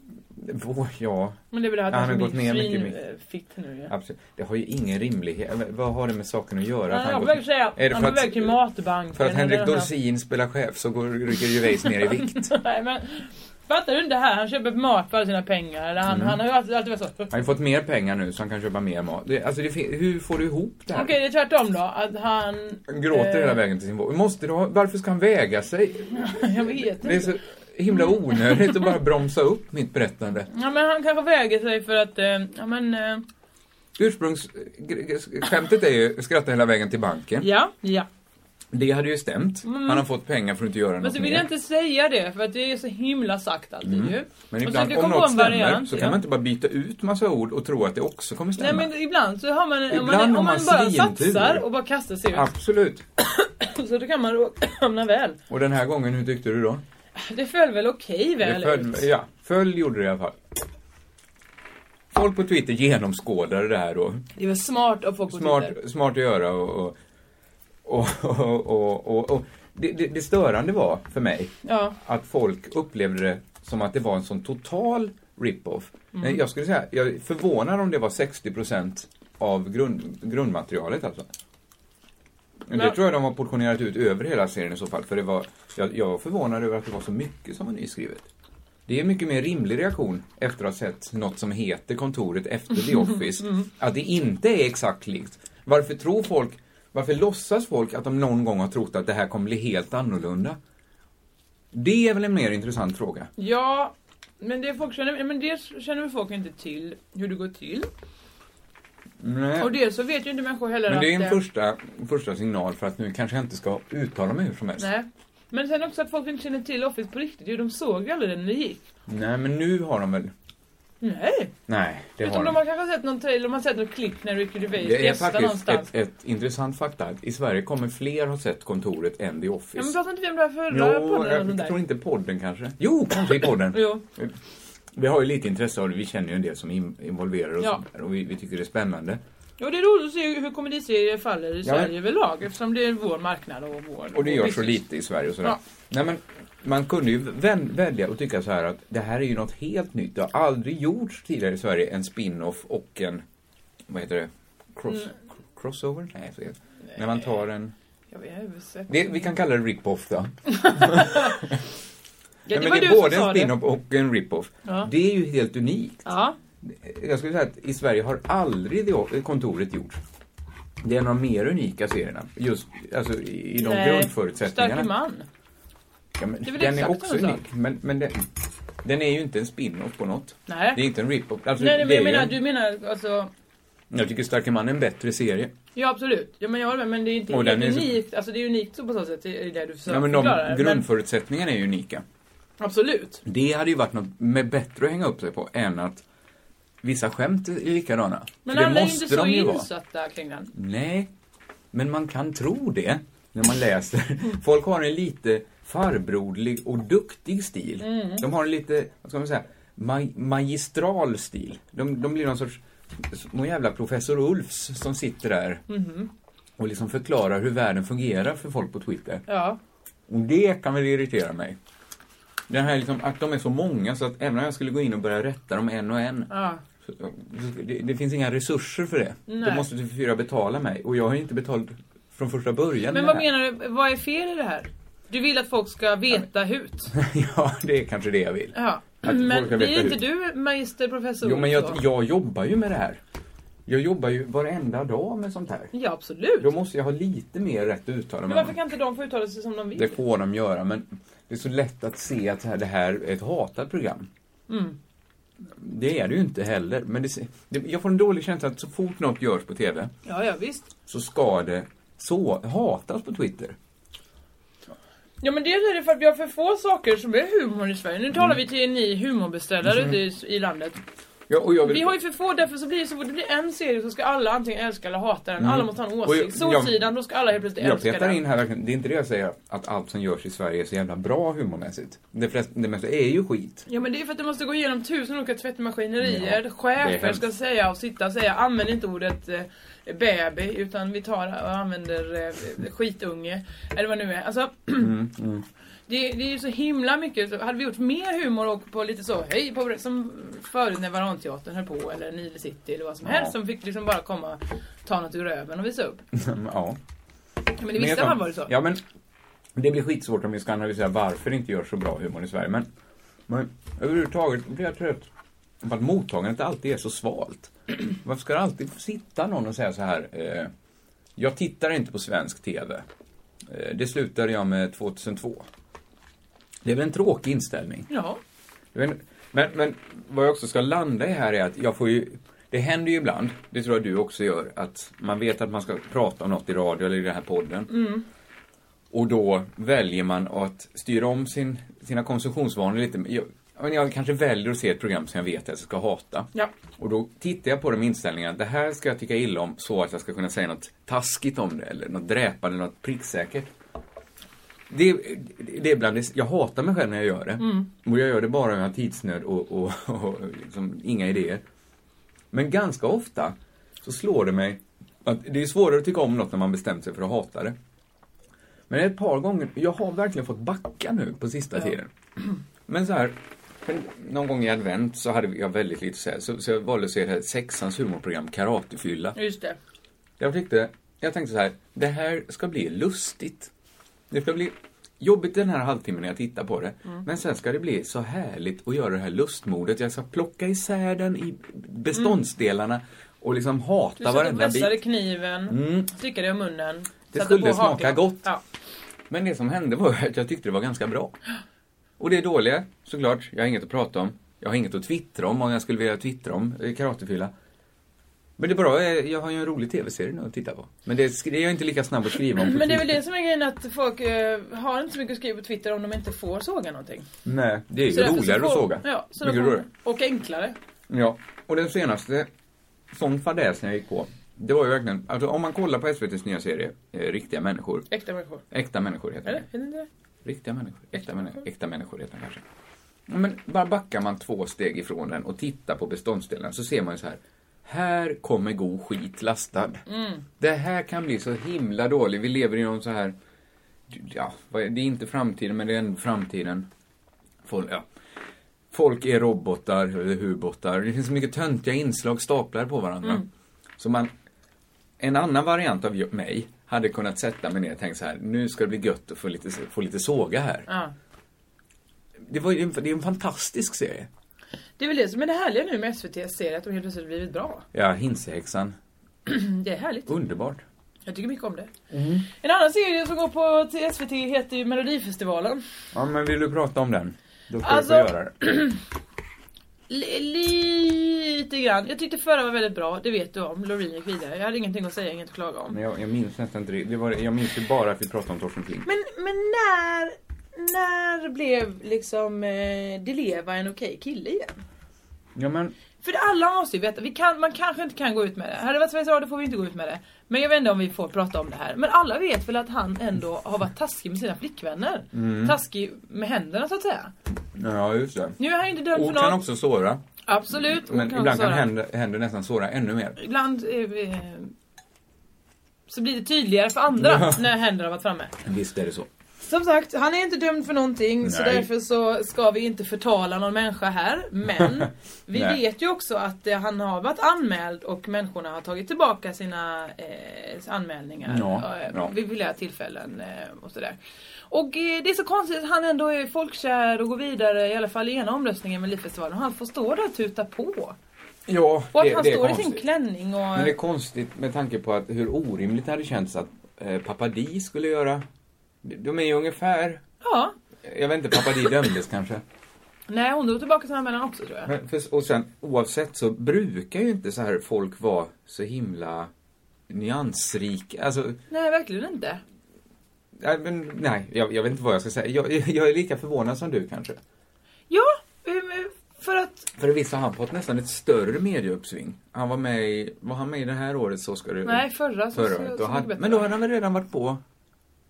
H: vå- ja.
I: men det är väl det här att
H: Ja, han har
I: som
H: gått
I: är
H: ner mycket.
I: svin-
H: mycket.
I: eh, fitt nu ju.
H: Absolut. Det har ju ingen rimlighet. Eller, Vad har det med saken att göra? att
I: Han är på
H: han går-
I: väg att säga,
H: Är det
I: han
H: för
I: är på
H: att-
I: väg till matbanken.
H: För att
I: eller
H: Henrik
I: den här-
H: Dorsin spelar chef så går Ricky Gervais ner i vikt.
I: Nej, men, fattar du inte här? Han köper mat för alla sina pengar. Eller han,
H: Mm.
I: han har ju alltid, alltid varit så.
H: Han har ju fått mer pengar nu så han kan köpa mer mat. Det, alltså det, fin- hur får du ihop det här?
I: Okej, det är tvärtom då. Att han...
H: Han gråter
I: eh,
H: hela vägen till sin våg. Måste du ha, varför ska han väga sig?
I: Jag vet
H: Det är
I: inte.
H: så himla onödigt att bara bromsa upp mitt berättande.
I: Ja, men han kanske väger sig för att... Eh, ja, men... Eh,
H: Ursprungsskämtet är ju skratta hela vägen till banken.
I: ja, ja.
H: Det hade ju stämt.
I: Mm.
H: Han har fått pengar för att inte göra
I: Men
H: något
I: så vill
H: mer.
I: jag inte säga det för att det är så himla sagt alltid
H: Mm.
I: ju.
H: Men
I: Och
H: ibland
I: så
H: om något stämmer så kan
I: ja.
H: man inte bara byta ut massa ord och tro att det också kommer stämma.
I: Nej men ibland så har man, om
H: Ibland
I: man, om
H: har
I: man,
H: man
I: bara
H: svintur.
I: satsar och bara kastar sig ut
H: Absolut.
I: så då kan man råka- hamna väl.
H: Och den här gången, hur tyckte du då?
I: Det föll väl okej väl
H: Det
I: ut.
H: föll, ja, föll gjorde det i alla fall. Folk på Twitter genomskådade det här då.
I: Det var smart av folk på
H: Smart,
I: Twitter.
H: smart att göra och... och, och, och, och, och, och. Det, det, det störande var för mig
I: Ja.
H: att folk upplevde det som att det var en sån total rip-off.
I: Mm.
H: Nej, Jag skulle säga, jag är förvånad om det var 60% av grund, grundmaterialet alltså. Men det
I: Men-
H: tror jag de har portionerat ut över hela serien i så fall. För det var, jag, jag var förvånad över att det var så mycket som var nyskrivet. Det är mycket mer rimlig reaktion efter att ha sett något som heter kontoret efter The Office.
I: Mm.
H: Att det inte är exakt likt. Varför tror folk, varför låtsas folk att de någon gång har trott att det här kommer bli helt annorlunda? Det är väl en mer intressant fråga.
I: Ja, men det folk känner, men dels känner väl folk inte till hur det går till.
H: Nej.
I: Och dels så vet ju inte människor heller
H: Men det är
I: att
H: en första, första signal för att nu kanske jag inte ska uttala mig hur som helst.
I: Nej. Men sen också att folk inte känner till Office på riktigt. Jo, de såg ju aldrig den när det gick.
H: Nej, men nu har de väl...
I: Nej.
H: Nej, det har
I: Utom
H: de.
I: de har kanske sett någon trailer, de har sett något klipp när Ricky Gervais
H: Det är
I: gästar
H: faktiskt
I: någonstans.
H: ett, ett intressant fakta. att I Sverige kommer fler ha sett kontoret än The Office.
I: Ja, men pratade inte vi om det här förra
H: Jo,
I: podden? eller sånt
H: jag
I: där?
H: tror inte podden kanske. Jo, kanske i podden.
I: Jo.
H: Vi har ju lite intresse av det. Vi känner ju en del som är in- involverade och
I: Ja.
H: sånt där. Och vi, vi tycker det är spännande.
I: Ja, det är roligt att se hur komediserier faller i
H: Ja, men-
I: Sverige överlag eftersom det är vår marknad och vår...
H: Och det
I: vår
H: görs så
I: business.
H: lite i Sverige och sådär.
I: Ja.
H: Nej, men man kunde ju vän- välja och tycka så här att det här är ju något helt nytt. Det har aldrig gjorts tidigare i Sverige en spin-off och en, vad heter det, cross,
I: Mm.
H: cr- crossover? Nej, fel. När man tar en,
I: Jag vet, jag har ju sett.
H: det, vi kan kalla det rip-off då.
I: Ja, var
H: Nej, men det
I: du
H: är
I: som
H: både en
I: sa det.
H: spin-off och en rip-off.
I: Ja.
H: Det är ju helt unikt.
I: Ja.
H: Jag skulle säga att i Sverige har aldrig det kontoret gjorts. Det är en av de mer unika serierna, just alltså, i i de
I: Nej,
H: grundförutsättningarna. Alltså,
I: Starke man.
H: Ja, men
I: Det är väl
H: den är
I: exakt
H: också
I: samma sak.
H: unik, men, men den, den är ju inte en spin-off på något.
I: Nej.
H: Det är inte en rip-off. Alltså,
I: Nej, nej,
H: det
I: men
H: är
I: jag
H: ju
I: menar,
H: en-
I: du menar alltså...
H: Jag tycker Starke man är en bättre serie.
I: Ja, absolut. Ja, men jag håller med, men det är inte
H: Och
I: helt
H: den är så-
I: unikt. Alltså, det är unikt så på så sätt, det är det du försöker
H: Ja, men de
I: förklara. Men,
H: grundförutsättningarna är ju unika.
I: absolut.
H: Det hade ju varit något med bättre att hänga upp sig på än att vissa skämt är likadana.
I: Men
H: För det
I: alla är ju
H: måste
I: inte så
H: de ju vara.
I: insatta kring den.
H: Nej, men man kan tro det när man läser. Folk har en lite farbrodlig och duktig stil.
I: Mm.
H: De har en lite, vad ska man säga, ma- magistral stil. De, de blir någon sorts, någon jävla professor Ulfs som sitter där
I: Mhm.
H: och liksom förklarar hur världen fungerar för folk på Twitter.
I: Ja.
H: Och det kan väl irritera mig. Det här liksom, att de är så många så att även om jag skulle gå in och börja rätta dem en och en
I: ja.
H: så, det, det finns inga resurser för det.
I: Nej.
H: Då måste TV4 betala mig och jag har ju inte betalt från första början.
I: Men
H: med
I: vad
H: det här.
I: menar du, vad är fel i det här? Du vill att folk ska veta hut.
H: ja, det är kanske det jag vill.
I: Ja.
H: folk
I: Men
H: ska
I: blir
H: veta
I: inte
H: hut.
I: du magister, professor?
H: Jo, men
I: också?
H: jag, jag jobbar ju med det här. Jag jobbar ju varenda dag med sånt här.
I: Ja, absolut.
H: Då måste jag ha lite mer rätt att uttala
I: Men
H: mig.
I: varför
H: om.
I: kan inte de få uttala sig som de vill?
H: Det får de göra, men det är så lätt att se att det här är ett hatat program.
I: Mm.
H: Det är det ju inte heller. Men det, se- det, jag får en dålig känsla att så fort något görs på TV
I: Ja, ja visst.
H: så ska det så hatas på Twitter.
I: Ja men det är det för att vi har för få saker som är humor i Sverige. Nu talar vi till ni humorbeställare
H: Mm.
I: ute i, i landet.
H: Ja, och jag vill-
I: Vi har ju för få, därför så blir det så fort det blir en serie så ska alla antingen älska eller hata den.
H: Mm.
I: Alla måste ha en
H: Och jag-
I: åsikt.
H: jag-
I: Solsidan, då ska alla helt plötsligt
H: Jag
I: älska
H: petar
I: den.
H: in här verkligen, det är inte det jag säger att allt som görs i Sverige är så jävla bra humormässigt. Det, flest, det mesta är ju skit.
I: Ja men det är för att det måste gå igenom tusen olika tvättmaskinerier.
H: Ja, det är
I: Chefer
H: hemskt.
I: ska säga och sitta och säga använd inte ordet eh, baby utan vi tar och använder eh, skitunge. Eller vad det nu är. Alltså
H: Mm,
I: det, det är ju så himla mycket. Så Hade vi gjort mer humor och på lite så höj på som förut när Varanteatern höll på eller Nile City eller vad som
H: Ja.
I: helst som fick liksom bara komma ta något ur röven och visa upp.
H: ja.
I: Men i vissa fall var det så.
H: Ja, men det blir skitsvårt om vi ska analysera varför det inte görs så bra humor i Sverige. Men, men överhuvudtaget blir jag trött på att mottagandet alltid är så svalt. Varför ska det alltid sitta någon och säga så här? Eh, jag tittar inte på svensk TV. Eh, det slutade jag med 2002. Det är väl en tråkig inställning?
I: Ja.
H: Jag vet inte. Men, men vad jag också ska landa i här är att jag får ju, det händer ju ibland, det tror jag du också gör, att man vet att man ska prata om något i radio eller i den här podden.
I: Mm.
H: Och då väljer man att styra om sin, sina konsumtionsvanor lite. Jag, jag menar, jag kanske väljer att se ett program som jag vet att jag ska hata.
I: Ja.
H: Och då tittar jag på de inställningarna. Det här ska jag tycka illa om så att jag ska kunna säga något taskigt om det. Eller något dräpande, något pricksäkert. Det, det är bland det, jag hatar mig själv när jag gör det.
I: Mm.
H: Och jag gör det bara när jag har tidsnöd och, och, och liksom, inga idéer. Men ganska ofta så slår det mig att det är svårare att tycka om något när man bestämt sig för att hata det. Men ett par gånger, jag har verkligen fått backa nu på sista tiden. Men så här, för någon gång i advent så hade jag väldigt lite så här, så, så jag valde att se det här sexans humorprogram Karatefylla.
I: Just det.
H: Jag tyckte, jag tänkte så här, det här ska bli lustigt. Det ska bli jobbigt den här halvtimmen när jag tittar på det.
I: Mm.
H: Men sen ska det bli så härligt att göra det här lustmordet. Jag ska plocka isär den i beståndsdelarna och liksom
I: Mm. Du
H: hata
I: satt och
H: varenda
I: vässade
H: bit.
I: kniven,
H: Mm.
I: slickade i munnen.
H: Det
I: satte
H: skulle
I: på
H: smaka
I: hakan.
H: gott.
I: Ja.
H: Men det som hände var att jag tyckte det var ganska bra. Och det är dåliga, såklart, jag har inget att prata om. Jag har inget att twittra om, om jag skulle vilja twittra om eh, karatefylla. Men det bra är, jag har ju en rolig tv-serie nu att titta på. Men det, sk- det är jag inte lika snabb att skriva om på
I: Men det är väl
H: Twitter.
I: det som är grejen att folk eh, har inte så mycket att skriva på Twitter om de inte får såga någonting.
H: Nej, det är ju
I: Så därför så
H: roligare att
I: får-
H: såga.
I: Ja, så
H: Mycket
I: de får,
H: roligare.
I: och enklare.
H: Ja, och den senaste sån fadäsen jag gick på, det var ju verkligen, alltså om man kollar på SVTs nya serie, eh, Riktiga människor,
I: Äkta människor.
H: Äkta människor heter
I: Eller?
H: den.
I: Heter inte det?
H: Riktiga människor, äkta människor, äkta människor heter den kanske. Ja, Men bara backar man två steg ifrån den och tittar på beståndsdelarna så ser man ju så här, här kommer god skit lastad.
I: Mm.
H: Det här kan bli så himla dålig. Vi lever i någon så här... Ja, vad är- det är inte framtiden, men det är ändå framtiden. Folk, ja. Folk är robotar, eller hubottar. Det finns så mycket töntiga inslag staplade på varandra.
I: Mm.
H: Så man... En annan variant av jag- mig hade kunnat sätta mig ner och tänkt så här, nu ska det bli gött att få lite, få lite såga här.
I: Ja.
H: Det, var, ju en- det är en fantastisk serie.
I: Det är väl det som är det härliga nu med SVT serier att de helt plötsligt blivit bra. Mm,
H: Ja, Hinsehäxan.
I: det är härligt.
H: Underbart.
I: Jag tycker mycket om det. En annan serie som går på till SVT heter ju Melodifestivalen.
H: Ja, men vill du prata om den? Då ska
I: Alltså-
H: du få göra det.
I: Li- lite grann. Jag tyckte förra var väldigt bra, det vet du om. Loreen gick vidare. Jag hade ingenting att säga, inget att klaga om.
H: Men jag, jag minns nästan inte det. det var, jag minns ju bara att vi pratade om Torsten Flink.
I: Men, men när, när blev liksom eh, Dileva en okej kille igen?
H: Ja, men...
I: För alla måste ju veta, vi kan, man kanske inte kan gå ut med det. Hade det varit Sveriges Radio får vi inte gå ut med det. Men jag vet inte om vi får prata om det här. Men alla vet väl att han ändå har varit taskig med sina flickvänner.
H: Mm.
I: Taskig med händerna så att säga.
H: Ja, just det.
I: Nu är han ju inte dömd
H: Ord
I: för
H: kan
I: något.
H: också såra.
I: Absolut, ord
H: Men
I: kan
H: ibland
I: också
H: kan
I: såra.
H: händer, händer nästan såra ännu mer.
I: Ibland eh, eh, så blir det tydligare för andra
H: Ja.
I: när händerna har varit framme.
H: Visst är det så.
I: Som sagt, han är inte dömd för någonting så
H: Nej.
I: därför så ska vi inte förtala någon människa här. Men vi
H: Nej.
I: vet ju också att eh, han har varit anmäld och människorna har tagit tillbaka sina eh, anmälningar
H: Ja,
I: eh,
H: ja.
I: vid flera tillfällen eh, och sådär. Och eh, det är så konstigt att han ändå är folkkär och går vidare i alla fall i ena omröstningen med Melodifestivalen. Han får stå där och tuta på.
H: Ja,
I: Och att
H: det,
I: han
H: det är
I: står i sin
H: konstigt.
I: klänning och...
H: Men det är konstigt med tanke på att hur orimligt det hade känts att eh, Papadi skulle göra. De är ju ungefär
I: Ja,
H: Jag vet inte, pappa Di dömdes kanske.
I: Nej, hon drog tillbaka sin anmälan också tror jag.
H: Men för, och sen oavsett så brukar ju inte så här folk vara så himla nyansrika. Alltså,
I: Nej, verkligen inte.
H: nej, men, nej jag, jag vet inte vad jag ska säga. Jag, jag är lika förvånad som du kanske.
I: Ja, ehm, för att...
H: För visst har han fått nästan ett större medieuppsving. Han var med i, var han med i det här året så ska du...
I: Nej, förra. Så,
H: förra
I: så,
H: året.
I: så
H: Och
I: mycket
H: han,
I: bättre.
H: men då hade han väl redan varit på?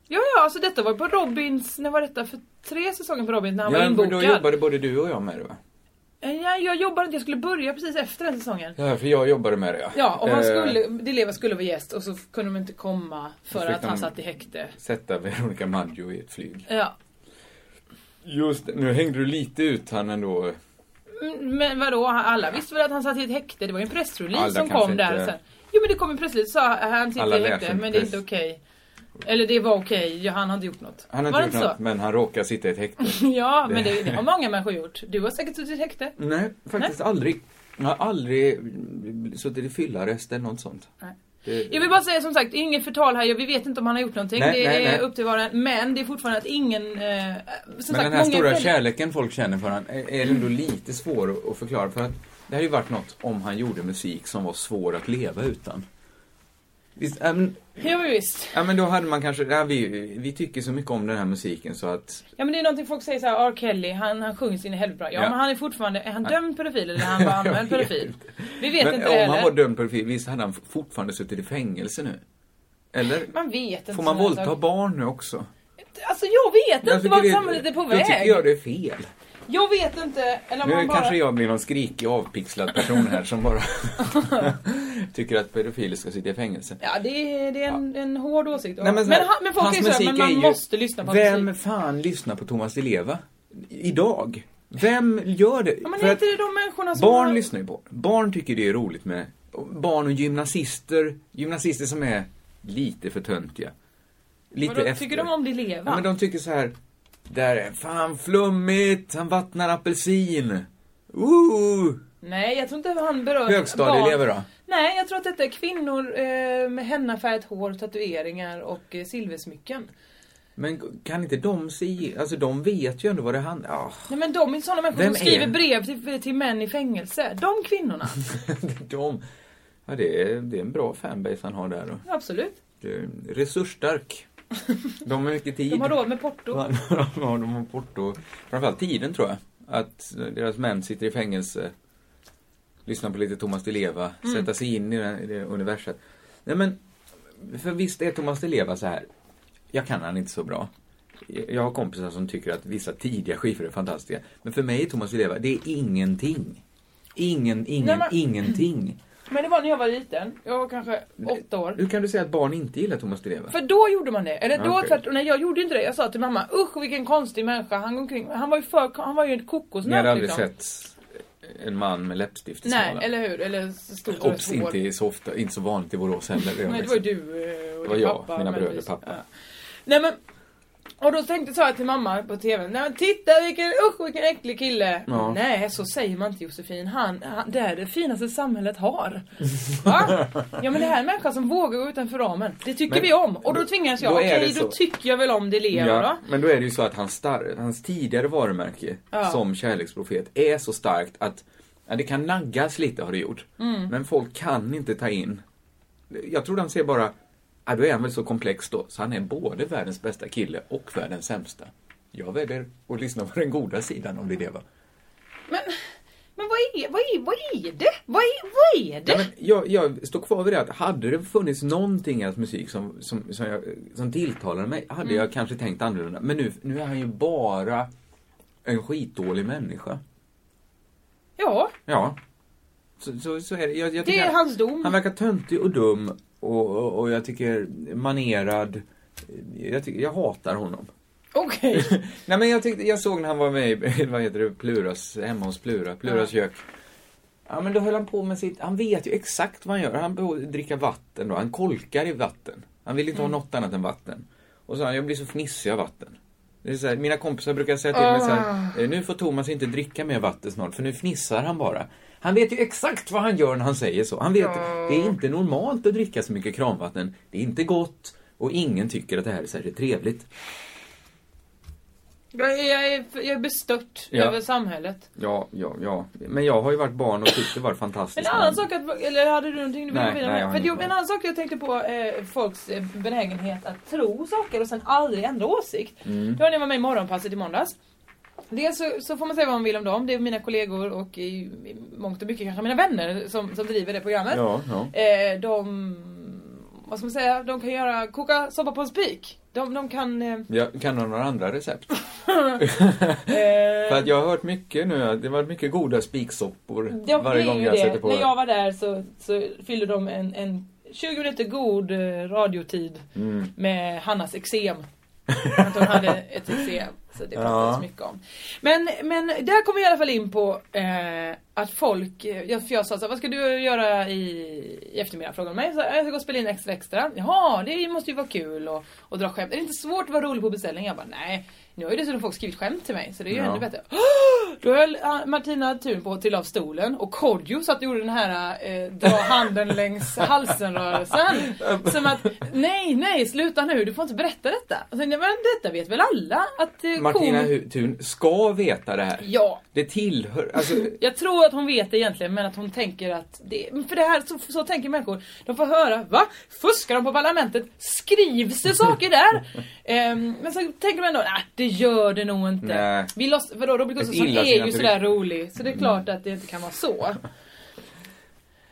I: Ja, ja, alltså detta var på Robins... När var detta? För tre säsonger på Robins när han var
H: men
I: inbokad. Eh,
H: då jobbade både du och jag med det va?
I: Nej, jag jobbade inte. Jag skulle börja precis efter den säsongen.
H: Ja, för jag jobbade med det ja.
I: Ja, och han
H: Eh,
I: skulle, Dileva skulle vara gäst och så kunde de inte komma för
H: Försökte
I: att han
H: han-
I: satt i häkte.
H: Sätta Veronica Maggio i ett flyg.
I: Ja.
H: Just det, nu hängde du lite ut han ändå.
I: Mm, Men vadå, alla visste väl att han satt i ett häkte? Det var ju en pressrelease
H: Alla
I: som
H: kanske
I: kom där
H: inte-
I: sen. Jo men det kom en pressrelease sa han sitter
H: Alla
I: i
H: läser
I: häkte
H: inte
I: men det är
H: press.
I: inte okej. Eller det var okej, ja, han har inte Mm. gjort något.
H: Han
I: var
H: har inte
I: det
H: gjort något, men han råkar sitta i ett häkte.
I: så? ja, men det, det har många människor gjort. Du har säkert suttit i ett häkte.
H: Nej, faktiskt aldrig. Jag har aldrig suttit i fyllarest eller något sånt.
I: Nej.
H: Det,
I: Jag vill bara säga som sagt, inget förtal här. Vi vet inte om han har gjort någonting.
H: Nej,
I: det
H: nej,
I: är
H: nej.
I: upp till var och en. Men det är fortfarande att ingen... Eh, som
H: men
I: sagt,
H: den här
I: många Mm. är
H: stora
I: väldigt-
H: kärleken folk känner för honom är är ändå lite svår att- att förklara. För att det hade ju varit något om han gjorde musik som var svår att leva utan. Visst, ja, men,
I: Ja, men visst.
H: ja, men då hade man kanske, ja, vi, vi tycker så mycket om den här musiken så att
I: Ja men det är någonting folk säger såhär, R. Kelly, han, han sjunger sin helvete bra. Ja,
H: Ja.
I: men han är fortfarande, är han
H: Ja.
I: dömd pedofil eller är han bara
H: Jag
I: anmäld
H: vet
I: pedofil? Vi vet
H: men
I: inte
H: om
I: det
H: han
I: heller.
H: var dömd på pedofil, visst hade han fortfarande suttit i fängelse nu? Eller?
I: Man vet inte.
H: Får man
I: sådana
H: våldta
I: saker.
H: barn nu också?
I: Alltså jag vet
H: Jag
I: inte
H: tycker
I: vart
H: det-
I: samhället är på
H: Då
I: väg.
H: tycker jag det är fel.
I: Jag vet inte, eller om
H: Nu
I: man bara...
H: kanske jag blir någon skrikig avpixlad person här som bara tycker att pedofiler ska sitta i fängelse.
I: Ja det är, det är en, en hård åsikt.
H: Nej,
I: men,
H: så här,
I: han, men folk
H: hans
I: säger såhär,
H: musik
I: men
H: är
I: man
H: ju-
I: måste lyssna på
H: Vem
I: musik.
H: fan lyssnar på Thomas Di Leva? Idag? Vem gör det?
I: Ja, men
H: För
I: är
H: att
I: inte det de människorna som...
H: barn
I: har-
H: lyssnar ju på Barn tycker det är roligt med barn och gymnasister. Gymnasister som är lite för töntiga. Lite
I: Vadå,
H: efter.
I: Tycker de om det leva?
H: Ja, men de tycker så här. Där är fan flummigt, han vattnar apelsin. Uh! Ooh!
I: Nej jag tror inte han berör
H: Högstadieelever
I: barn.
H: då?
I: Nej jag tror att detta är kvinnor eh, med hennafärgat hår, tatueringar och eh, silversmycken.
H: Men kan inte de se, alltså de vet ju ändå vad det handlar ah,
I: Nej men de är sådana människor
H: Vem
I: som skriver
H: är?
I: brev till, till män i fängelse. De kvinnorna.
H: de, ja, det, är, det är en bra fanbase han har där. Och
I: Absolut.
H: det är resursstark. De har mycket tid.
I: De har råd med porto.
H: Ja, de har, de har porto. Framförallt tiden tror jag. Att deras män sitter i fängelse, lyssnar på lite Thomas Di Leva,
I: Mm.
H: sätta sig in i det, i det universet. Nej men, för visst är Thomas Di Leva så här. Jag kan han inte så bra. Jag har kompisar som tycker att vissa tidiga skivor är fantastiska. Men för mig är Thomas Di Leva, det är ingenting. Ingen, ingen,
I: Nej, men-
H: ingenting.
I: Men det var när jag var liten. Jag var kanske åtta år.
H: Hur kan du säga att barn inte gillar Thomas Di Leva?
I: För då gjorde man det. Eller då
H: Okej.
I: tvärtom. Nej jag gjorde inte det. Jag sa till mamma, usch vilken konstig människa. Han, går omkring. han var ju för, han var ju en
H: Ni hade
I: kokosnöt liksom.
H: aldrig sett en man med läppstift i
I: Nej,
H: smalare?
I: eller hur? Eller så stort och
H: Obs,
I: rött hår.
H: inte i så ofta, inte så vanligt i Borås heller. liksom.
I: Nej, det var ju du eh, och
H: Det var
I: din
H: jag,
I: pappa.
H: mina
I: men
H: bröder,
I: visst.
H: pappa.
I: Ja. Nej men. Och då tänkte så jag till mamma på TVn. Nej men titta vilken, usch vilken äcklig kille.
H: Ja.
I: Nej så säger man inte Josefin. Han, han, det är det finaste samhället har. Va? Ja men det här är en människa som vågar gå utanför ramen. Det tycker
H: Men-
I: vi om. Och då tvingas jag.
H: då är
I: Okej
H: det
I: då
H: så.
I: tycker jag väl om det lever då.
H: Ja, men då är det ju så att hans, star- hans tidigare varumärke
I: Ja.
H: som kärleksprofet är så starkt att ja, det kan naggas lite har det gjort.
I: Mm.
H: Men folk kan inte ta in. Jag tror de ser bara, ja, då är han väl så komplex då, så han är både världens bästa kille och världens sämsta. Jag väljer att lyssna på den goda sidan om det är det va.
I: Men vad är, vad är, vad är det? Vad är, vad är det?
H: Ja, men jag, jag står kvar vid det att hade det funnits någonting i hans musik som, som, som, jag, som tilltalade mig hade
I: Mm.
H: jag kanske tänkt annorlunda. Men nu, nu är han ju bara en skitdålig människa.
I: Ja,
H: Ja. Så, så, så är det. Jag, jag
I: det
H: tycker
I: är hans dom.
H: Han verkar töntig och dum och, och, och jag tycker manerad. Jag, tycker, jag hatar honom.
I: Okej.
H: Nej men jag, tyckte, jag såg när han var med i, vad heter det, Pluras, hemma hos Plura, Pluras kök. Ja men då höll han på med sitt, han vet ju exakt vad han gör. Han behöver dricka vatten då, han kolkar i vatten. Han vill inte ha något annat än vatten. Och så sa han, jag blir så fnissig av vatten. Det är så här, mina kompisar brukar säga till mig så här, "Eh, nu får Thomas inte dricka mer vatten snart för nu fnissar han bara. Han vet ju exakt vad han gör när han säger så. Han vet, det är inte normalt att dricka så mycket kranvatten. Det är inte gott och ingen tycker att det här är särskilt trevligt.
I: Jag är, jag är, jag är bestört
H: Ja.
I: över samhället.
H: Ja, ja, ja. Men jag har ju varit barn och tyckt det var fantastiskt.
I: En annan sak att, eller hade du någonting du ville
H: Nej,
I: gå vidare
H: nej,
I: med?
H: jag har
I: För att
H: inget
I: jo, en annan sak jag tänkte på, eh, folks eh, benägenhet att tro saker och sen aldrig ändra åsikt.
N: Mm.
I: Det var när jag var med i morgonpasset i måndags. Dels så, så får man säga vad man vill om dem, det är mina kollegor och i, i mångt och mycket kanske mina vänner som, som driver det programmet.
N: Ja, ja.
I: Eh, de, vad ska man säga, de kan göra, koka soppa på en spik. De, de kan... Eh,
H: Ja, kan du några andra recept? För att jag har hört mycket nu, att det har varit mycket goda spiksoppor
I: Ja,
H: varje
I: det är
H: gång
I: ju
H: jag
I: det.
H: sätter på.
I: När jag var där så, så fyllde de en, en 20 minuter god eh, radiotid
H: Mm.
I: med Hannas eksem. Att hon hade ett eksem. Så det
N: Ja.
I: pratades mycket om. Men, men där kom vi i alla fall in på eh, att folk, eh, jag, för jag sa så här, vad ska du göra i, i eftermiddag? Frågade de mig. Så, här, jag ska gå och spela in Extra Extra. Jaha, det måste ju vara kul och, och dra skämt. Är det inte svårt att vara rolig på beställning? Jag bara, nej. Nu har ju dessutom folk skrivit skämt till mig så det är ju
N: Ja.
I: ännu bättre. Då höll ah, Martina Thun på att trilla av stolen och Kodjo satt och gjorde den här eh, dra handen längs halsen rörelsen. Som att nej, nej, sluta nu, du får inte berätta detta. Och sen, men detta vet väl alla att eh,
H: Martina
I: kom-
H: Hu- Thun ska veta det här.
I: Ja,
H: Det tillhör, alltså,
I: jag tror att hon vet det egentligen men att hon tänker att det, För det här, så, så tänker människor. De får höra, va? Fuskar de på parlamentet? Skrivs det saker där? Ehm, men så tänker man ändå, nej det gör det nog inte.
N: Nej.
I: Vi loss, vadå, Robert Gustafsson är ju
H: illasinnat
I: sådär
H: tryck.
I: rolig. Så det är klart att det inte kan vara så.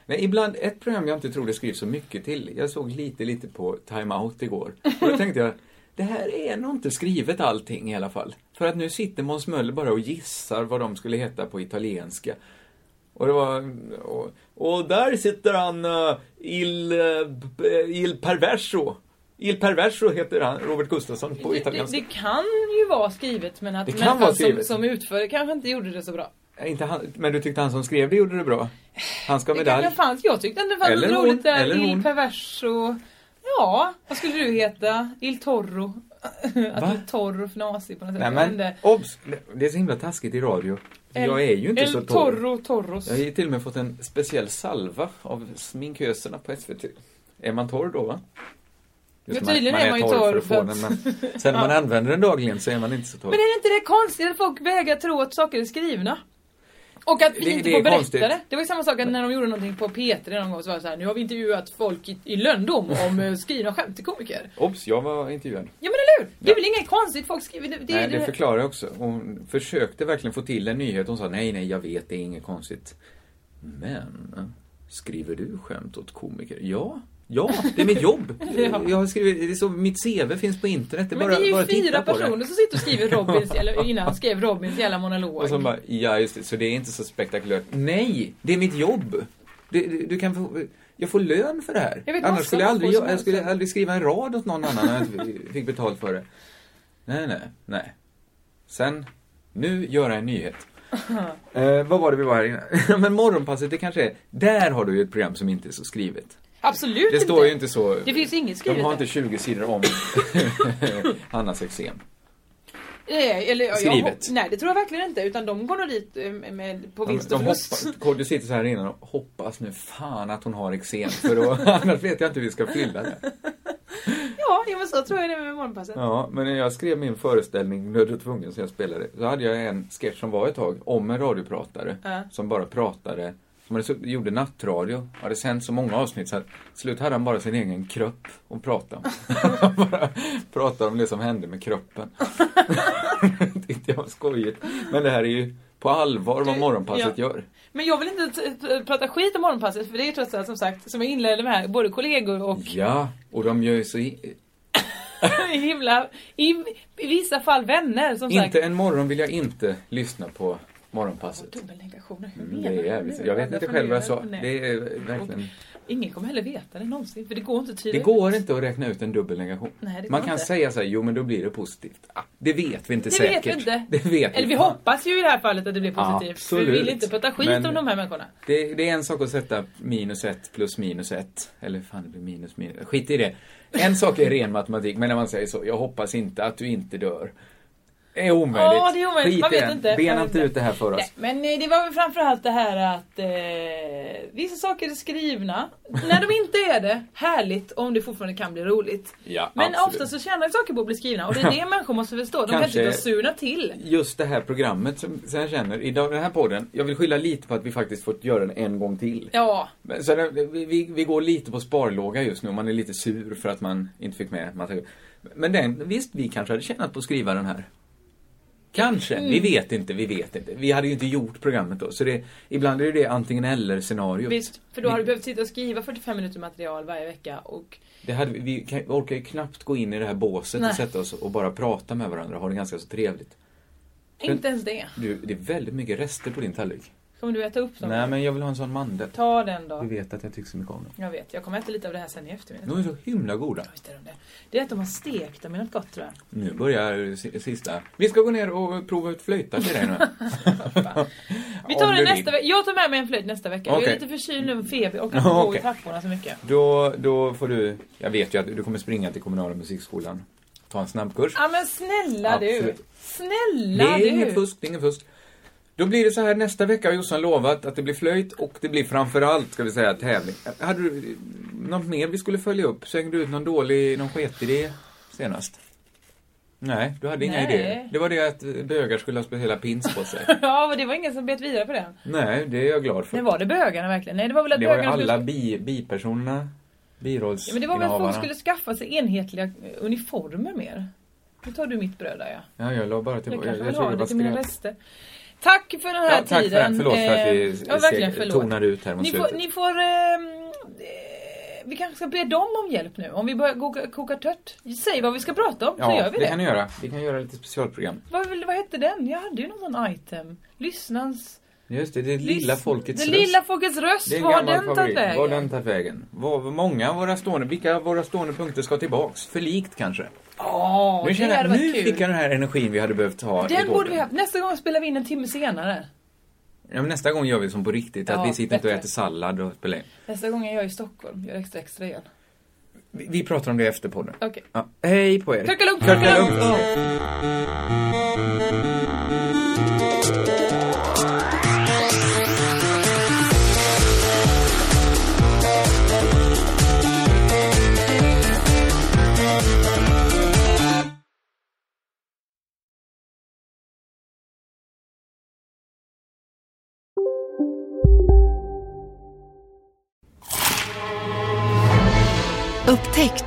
H: nej, ibland, ett program jag inte tror det skrivs så mycket till. Jag såg lite, lite på Time Out igår. Och då tänkte jag, det här är nog inte skrivet allting i alla fall. För att nu sitter Måns Möller bara och gissar vad de skulle heta på italienska. Och det var... Och, och där sitter han eh, il, eh, b- il Perverso. Il Perverso heter han, Robert Gustafsson på
I: Det, det,
H: italienska.
I: det kan ju vara skrivet men att
H: Det kan
I: människan
H: vara skrivet.
I: Som, som utför det kanske inte gjorde det så bra.
H: Ja, Inte han, men du tyckte han som skrev det gjorde det bra? Han ska ha
I: Det
H: medalj.
I: kanske fanns, jag tyckte ändå det fanns
H: Eller
I: något
H: hon,
I: roligt där.
H: eller
I: Il
H: hon.
I: Perverso. Ja, vad skulle du heta? Il Torro. Att du är torr och fnasig på något sätt.
H: Nej
I: Jag vet
H: men,
I: inte.
H: obs! Det är så himla taskigt i radio.
I: El-
H: jag är ju inte
I: El
H: så torr.
I: Torro Torros.
H: Jag har ju till och med fått en speciell salva av sminköserna på SVT. Är man torr då va?
I: Ja,
H: som
I: tydligen är man ju torr
H: för att få
I: för
H: den, men sen när man använder den dagligen så är man inte så torr.
I: Men är det inte det konstigt att folk vägrar tro att saker är skrivna? Och att vi
H: Det-
I: inte
H: det är
I: får berätta
H: konstigt.
I: det. Det var ju samma sak att när de gjorde någonting på P3 någon gång så var det så här, nu har vi intervjuat folk i, i Lönndom om eh, skrivna skämt till komiker.
H: Obs! Jag var intervjuad.
I: Ja men eller hur? Det är väl inget konstigt folk skriver? Det, det,
H: nej, det,
I: det-
H: förklarar jag också. Hon försökte verkligen få till en nyhet. Hon sa nej, nej, jag vet, det är inget konstigt. Men, skriver du skämt åt komiker? Ja, ja, det är mitt jobb.
I: Ja.
H: Jag har skrivit, det är så, mitt CV finns på internet. Det är
I: men
H: bara,
I: det är ju
H: bara att titta
I: fyra
H: på det.
I: personer som sitter och skriver Robins, eller innan han skrev Robins jävla monolog.
H: Och så bara, ja just det, så det är inte så spektakulärt. Nej, det är mitt jobb. Du, du, du kan få, jag får lön för det här.
I: Jag vet massor
H: Annars skulle jag
I: om
H: aldrig,
I: folk som
H: jag,
I: har
H: jag skulle aldrig skriva en rad åt någon annan när jag inte fick betalt för det. Nej, nej, nej. Sen, nu göra en nyhet. Eh, vad var det vi var här innan? Men morgonpasset, det kanske är, där har du ju ett program som inte är så skrivet.
I: Absolut
H: Det
I: inte.
H: står ju inte så,
I: Det finns inget
H: de
I: skrivet
H: har
I: där.
H: inte 20 sidor om Hannas eksem.
I: Nej, Eh, eller, ja,
H: Skrivet.
I: Jag, nej, det tror jag verkligen inte. Utan de går nog dit eh, med, på
H: De,
I: vinst
H: de
I: och förlust.
H: hoppas, Kodjo sitter så här innan och hoppas nu fan att hon har eksem för då, annars vet jag inte hur vi ska fylla det.
I: Ja, ja, men så tror jag det är med morgonpasset.
H: Ja, men när jag skrev min föreställning Nödd och tvungen som jag spelade, så hade jag en sketch som var ett tag om en radiopratare
I: Ja.
H: som bara pratade, som hade, sutt- gjorde nattradio, hade sänt så många avsnitt så att till slut hade han bara sin egen kropp att prata om. Han bara pratade om det som hände med kroppen. Tyckte jag var skojigt. Men det här är ju på allvar vad morgonpasset
I: ja.
H: gör.
I: Men jag vill inte t- t- prata skit om morgonpasset för det är trots allt som sagt, som jag inledde med här, både kollegor och
H: Ja, och de gör ju så i-
I: himla, i, i vissa fall vänner som sagt.
H: Inte en morgon vill jag inte lyssna på Morgonpasset.
I: Dubbelnegationer, hur
H: Mm,
I: menar
H: Det är
I: du
H: jävligt.
I: nu?
H: Jag vet inte
I: Varför
H: själv vad jag
I: nu?
H: sa.
I: Nej.
H: Det är verkligen...
I: Ingen kommer heller veta det någonsin, för det går inte att tyda
H: Det går inte att räkna ut en dubbelnegation.
I: Nej, det går
H: Man kan
I: inte.
H: säga så här, jo men då blir det positivt. Ah, Det vet vi inte
I: Det vet
H: säkert.
I: vi inte.
H: Det vet
I: Eller vi
H: inte.
I: hoppas ju i det här fallet att det blir positivt. För vi
H: Absolut.
I: vill inte prata skit
H: Men-
I: om de här människorna.
H: Det, det är en sak att sätta minus ett plus minus ett. Eller fan, det blir minus minus. Skit i det. En sak är ren matematik, men när man säger så, jag hoppas inte att du inte dör. är omöjligt.
I: Ja, det är omöjligt.
H: Skit
I: Man
H: i
I: vet
H: den.
I: inte. Man
H: Bena
I: vet
H: inte
I: inte.
H: ut det här för oss.
I: Nej, men eh, det var väl framförallt det här att eh, vissa saker är skrivna. När de inte är det, härligt om det fortfarande kan bli roligt.
H: Ja,
I: Men
H: absolut.
I: ofta så tjänar saker på att bli skrivna och det är det människor måste förstå. De
H: Kanske-
I: kan inte suna till.
H: Just det här programmet som som jag känner, i den här podden, jag vill skylla lite på att vi faktiskt fått göra den en gång till.
I: Ja,
H: Men Så det, vi, vi- vi går lite på sparlåga just nu och man är lite sur för att man inte fick med massa Men den, visst, vi kanske hade tjänat på att skriva den här. Kanske, vi
I: Mm.
H: vet inte, vi vet inte. Vi hade ju inte gjort programmet då. Så det, ibland är det ju det antingen eller scenario.
I: visst. För då har du behövt sitta och skriva 45 minuter material varje vecka och
H: Det hade, vi- vi kan, vi orkar ju knappt gå in i det här båset
I: Nej.
H: och sätta oss och bara prata med varandra och ha det ganska så trevligt. Men-
I: inte ens det.
H: Du, det är väldigt mycket rester på din tallrik.
I: Kommer du äta upp dem?
H: Nej men jag vill ha en sån mandel.
I: Ta den då.
H: Du vet att jag tycker så mycket om dem.
I: Jag vet, jag kommer äta lite av det här sen i eftermiddag.
H: De är så himla goda.
I: Det är att de har stekt dem i något gott tror jag.
H: Nu börjar si- sista. Vi ska gå ner och prova ut flöjta till dig nu.
I: Vi tar
H: Om
I: det
H: du vill.
I: nästa vecka. Jag tar med mig en flöjt nästa vecka. Jag
H: Okej.
I: är lite förkyld nu med feber och kan inte gå i
H: Okej.
I: trapporna så mycket.
H: Då, då får du, jag vet ju att du kommer springa till kommunala musikskolan. Ta en snabbkurs.
I: Ja men snälla
H: Absolut.
I: du!
H: Det
I: Snälla
H: är inget
I: du!
H: fusk, det är inget fusk. Då blir det så här nästa vecka har Jossan lovat att det blir flöjt och det blir framförallt, ska vi säga, tävling. Hade du eh, något mer vi skulle följa upp? Slängde du ut någon dålig, någon sketidé senast? Nej, du hade inga
I: Nej.
H: idéer. Det var det att bögar skulle ha speciella pins på sig.
I: Ja men det var ingen som bet vidare på den.
H: Nej, det är jag glad för.
I: Men var det bögarna verkligen? Nej det var väl att
H: Det var ju
I: bögarna
H: alla
I: skulle...
H: bi, bipersonerna, birollsinnehavarna.
I: Ja, men det var väl att folk skulle skaffa sig enhetliga eh, uniformer mer. Nu tar du mitt bröd där ja.
H: Ja, jag la bara till...
I: Jag kanske
H: jag
I: vill
H: tror
I: ha det
H: bara
I: till mina
H: skrev.
I: rester. Tack för den här
H: Ja, tack för
I: tiden.
H: den. Förlåt för att vi
I: Eh, ja, verkligen,
H: seg-
I: förlåt.
H: tonade ut här mot
I: ni får,
H: slutet.
I: ni får ehm, eh, Vi kanske ska be dem om hjälp nu. Om vi börjar koka, koka tört. Säg vad vi ska prata om så
H: Ja,
I: gör vi
H: det,
I: det.
H: kan ni göra. Vi kan göra lite specialprogram.
I: Vad, vill- vad hette den? Jag hade ju någon sån item. Lyssnans...
H: Just det, det lilla folkets
I: Det
H: röst.
I: lilla folkets röst.
H: Det är en
I: Vad har
H: gammal
I: den tagit
H: favorit. Var
I: vägen?
H: den tagit vägen? Var, många av våra stående, vilka av våra stående punkter ska tillbaks? Förlikt kanske?
I: Ja,
H: nu
I: det
H: känner
I: hade
H: jag, nu
I: varit kul.
H: fick jag den här energin vi hade behövt ha i
I: Den
H: podden.
I: borde vi haft. Nästa gång spelar vi in en timme senare.
H: ja, men Nästa gång gör vi som på riktigt, att
I: Ja,
H: vi sitter inte och
I: bättre.
H: äter sallad och spelar in.
I: Nästa gång är jag i Stockholm. Gör extra extra igen.
H: Vi, vi pratar om det efter podden.
I: Okej.
H: Ja, hej på er!
I: Kuckelunk,
H: Kuckelunk.
N: Upptäck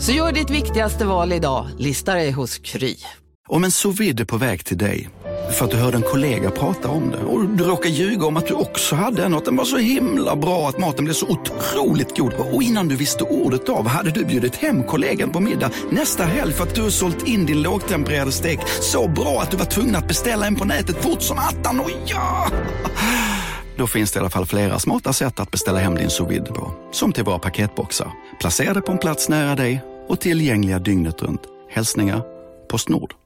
A: Så gör ditt viktigaste val idag, listar dig hos Kry.
O: Om en sous vide är på väg till dig för att du hörde en kollega prata om det och du råkade ljuga om att du också hade en och att den var så himla bra att maten blev så otroligt god och innan du visste ordet av hade du bjudit hem kollegan på middag nästa helg för att du sålt in din lågtempererade stek så bra att du var tvungen att beställa en på nätet fort som attan. Och ja! Då finns det i alla fall flera smarta sätt att beställa hem din sous vide på. Som till våra paketboxar, placerade på en plats nära dig och tillgängliga dygnet runt. Hälsningar Postnord.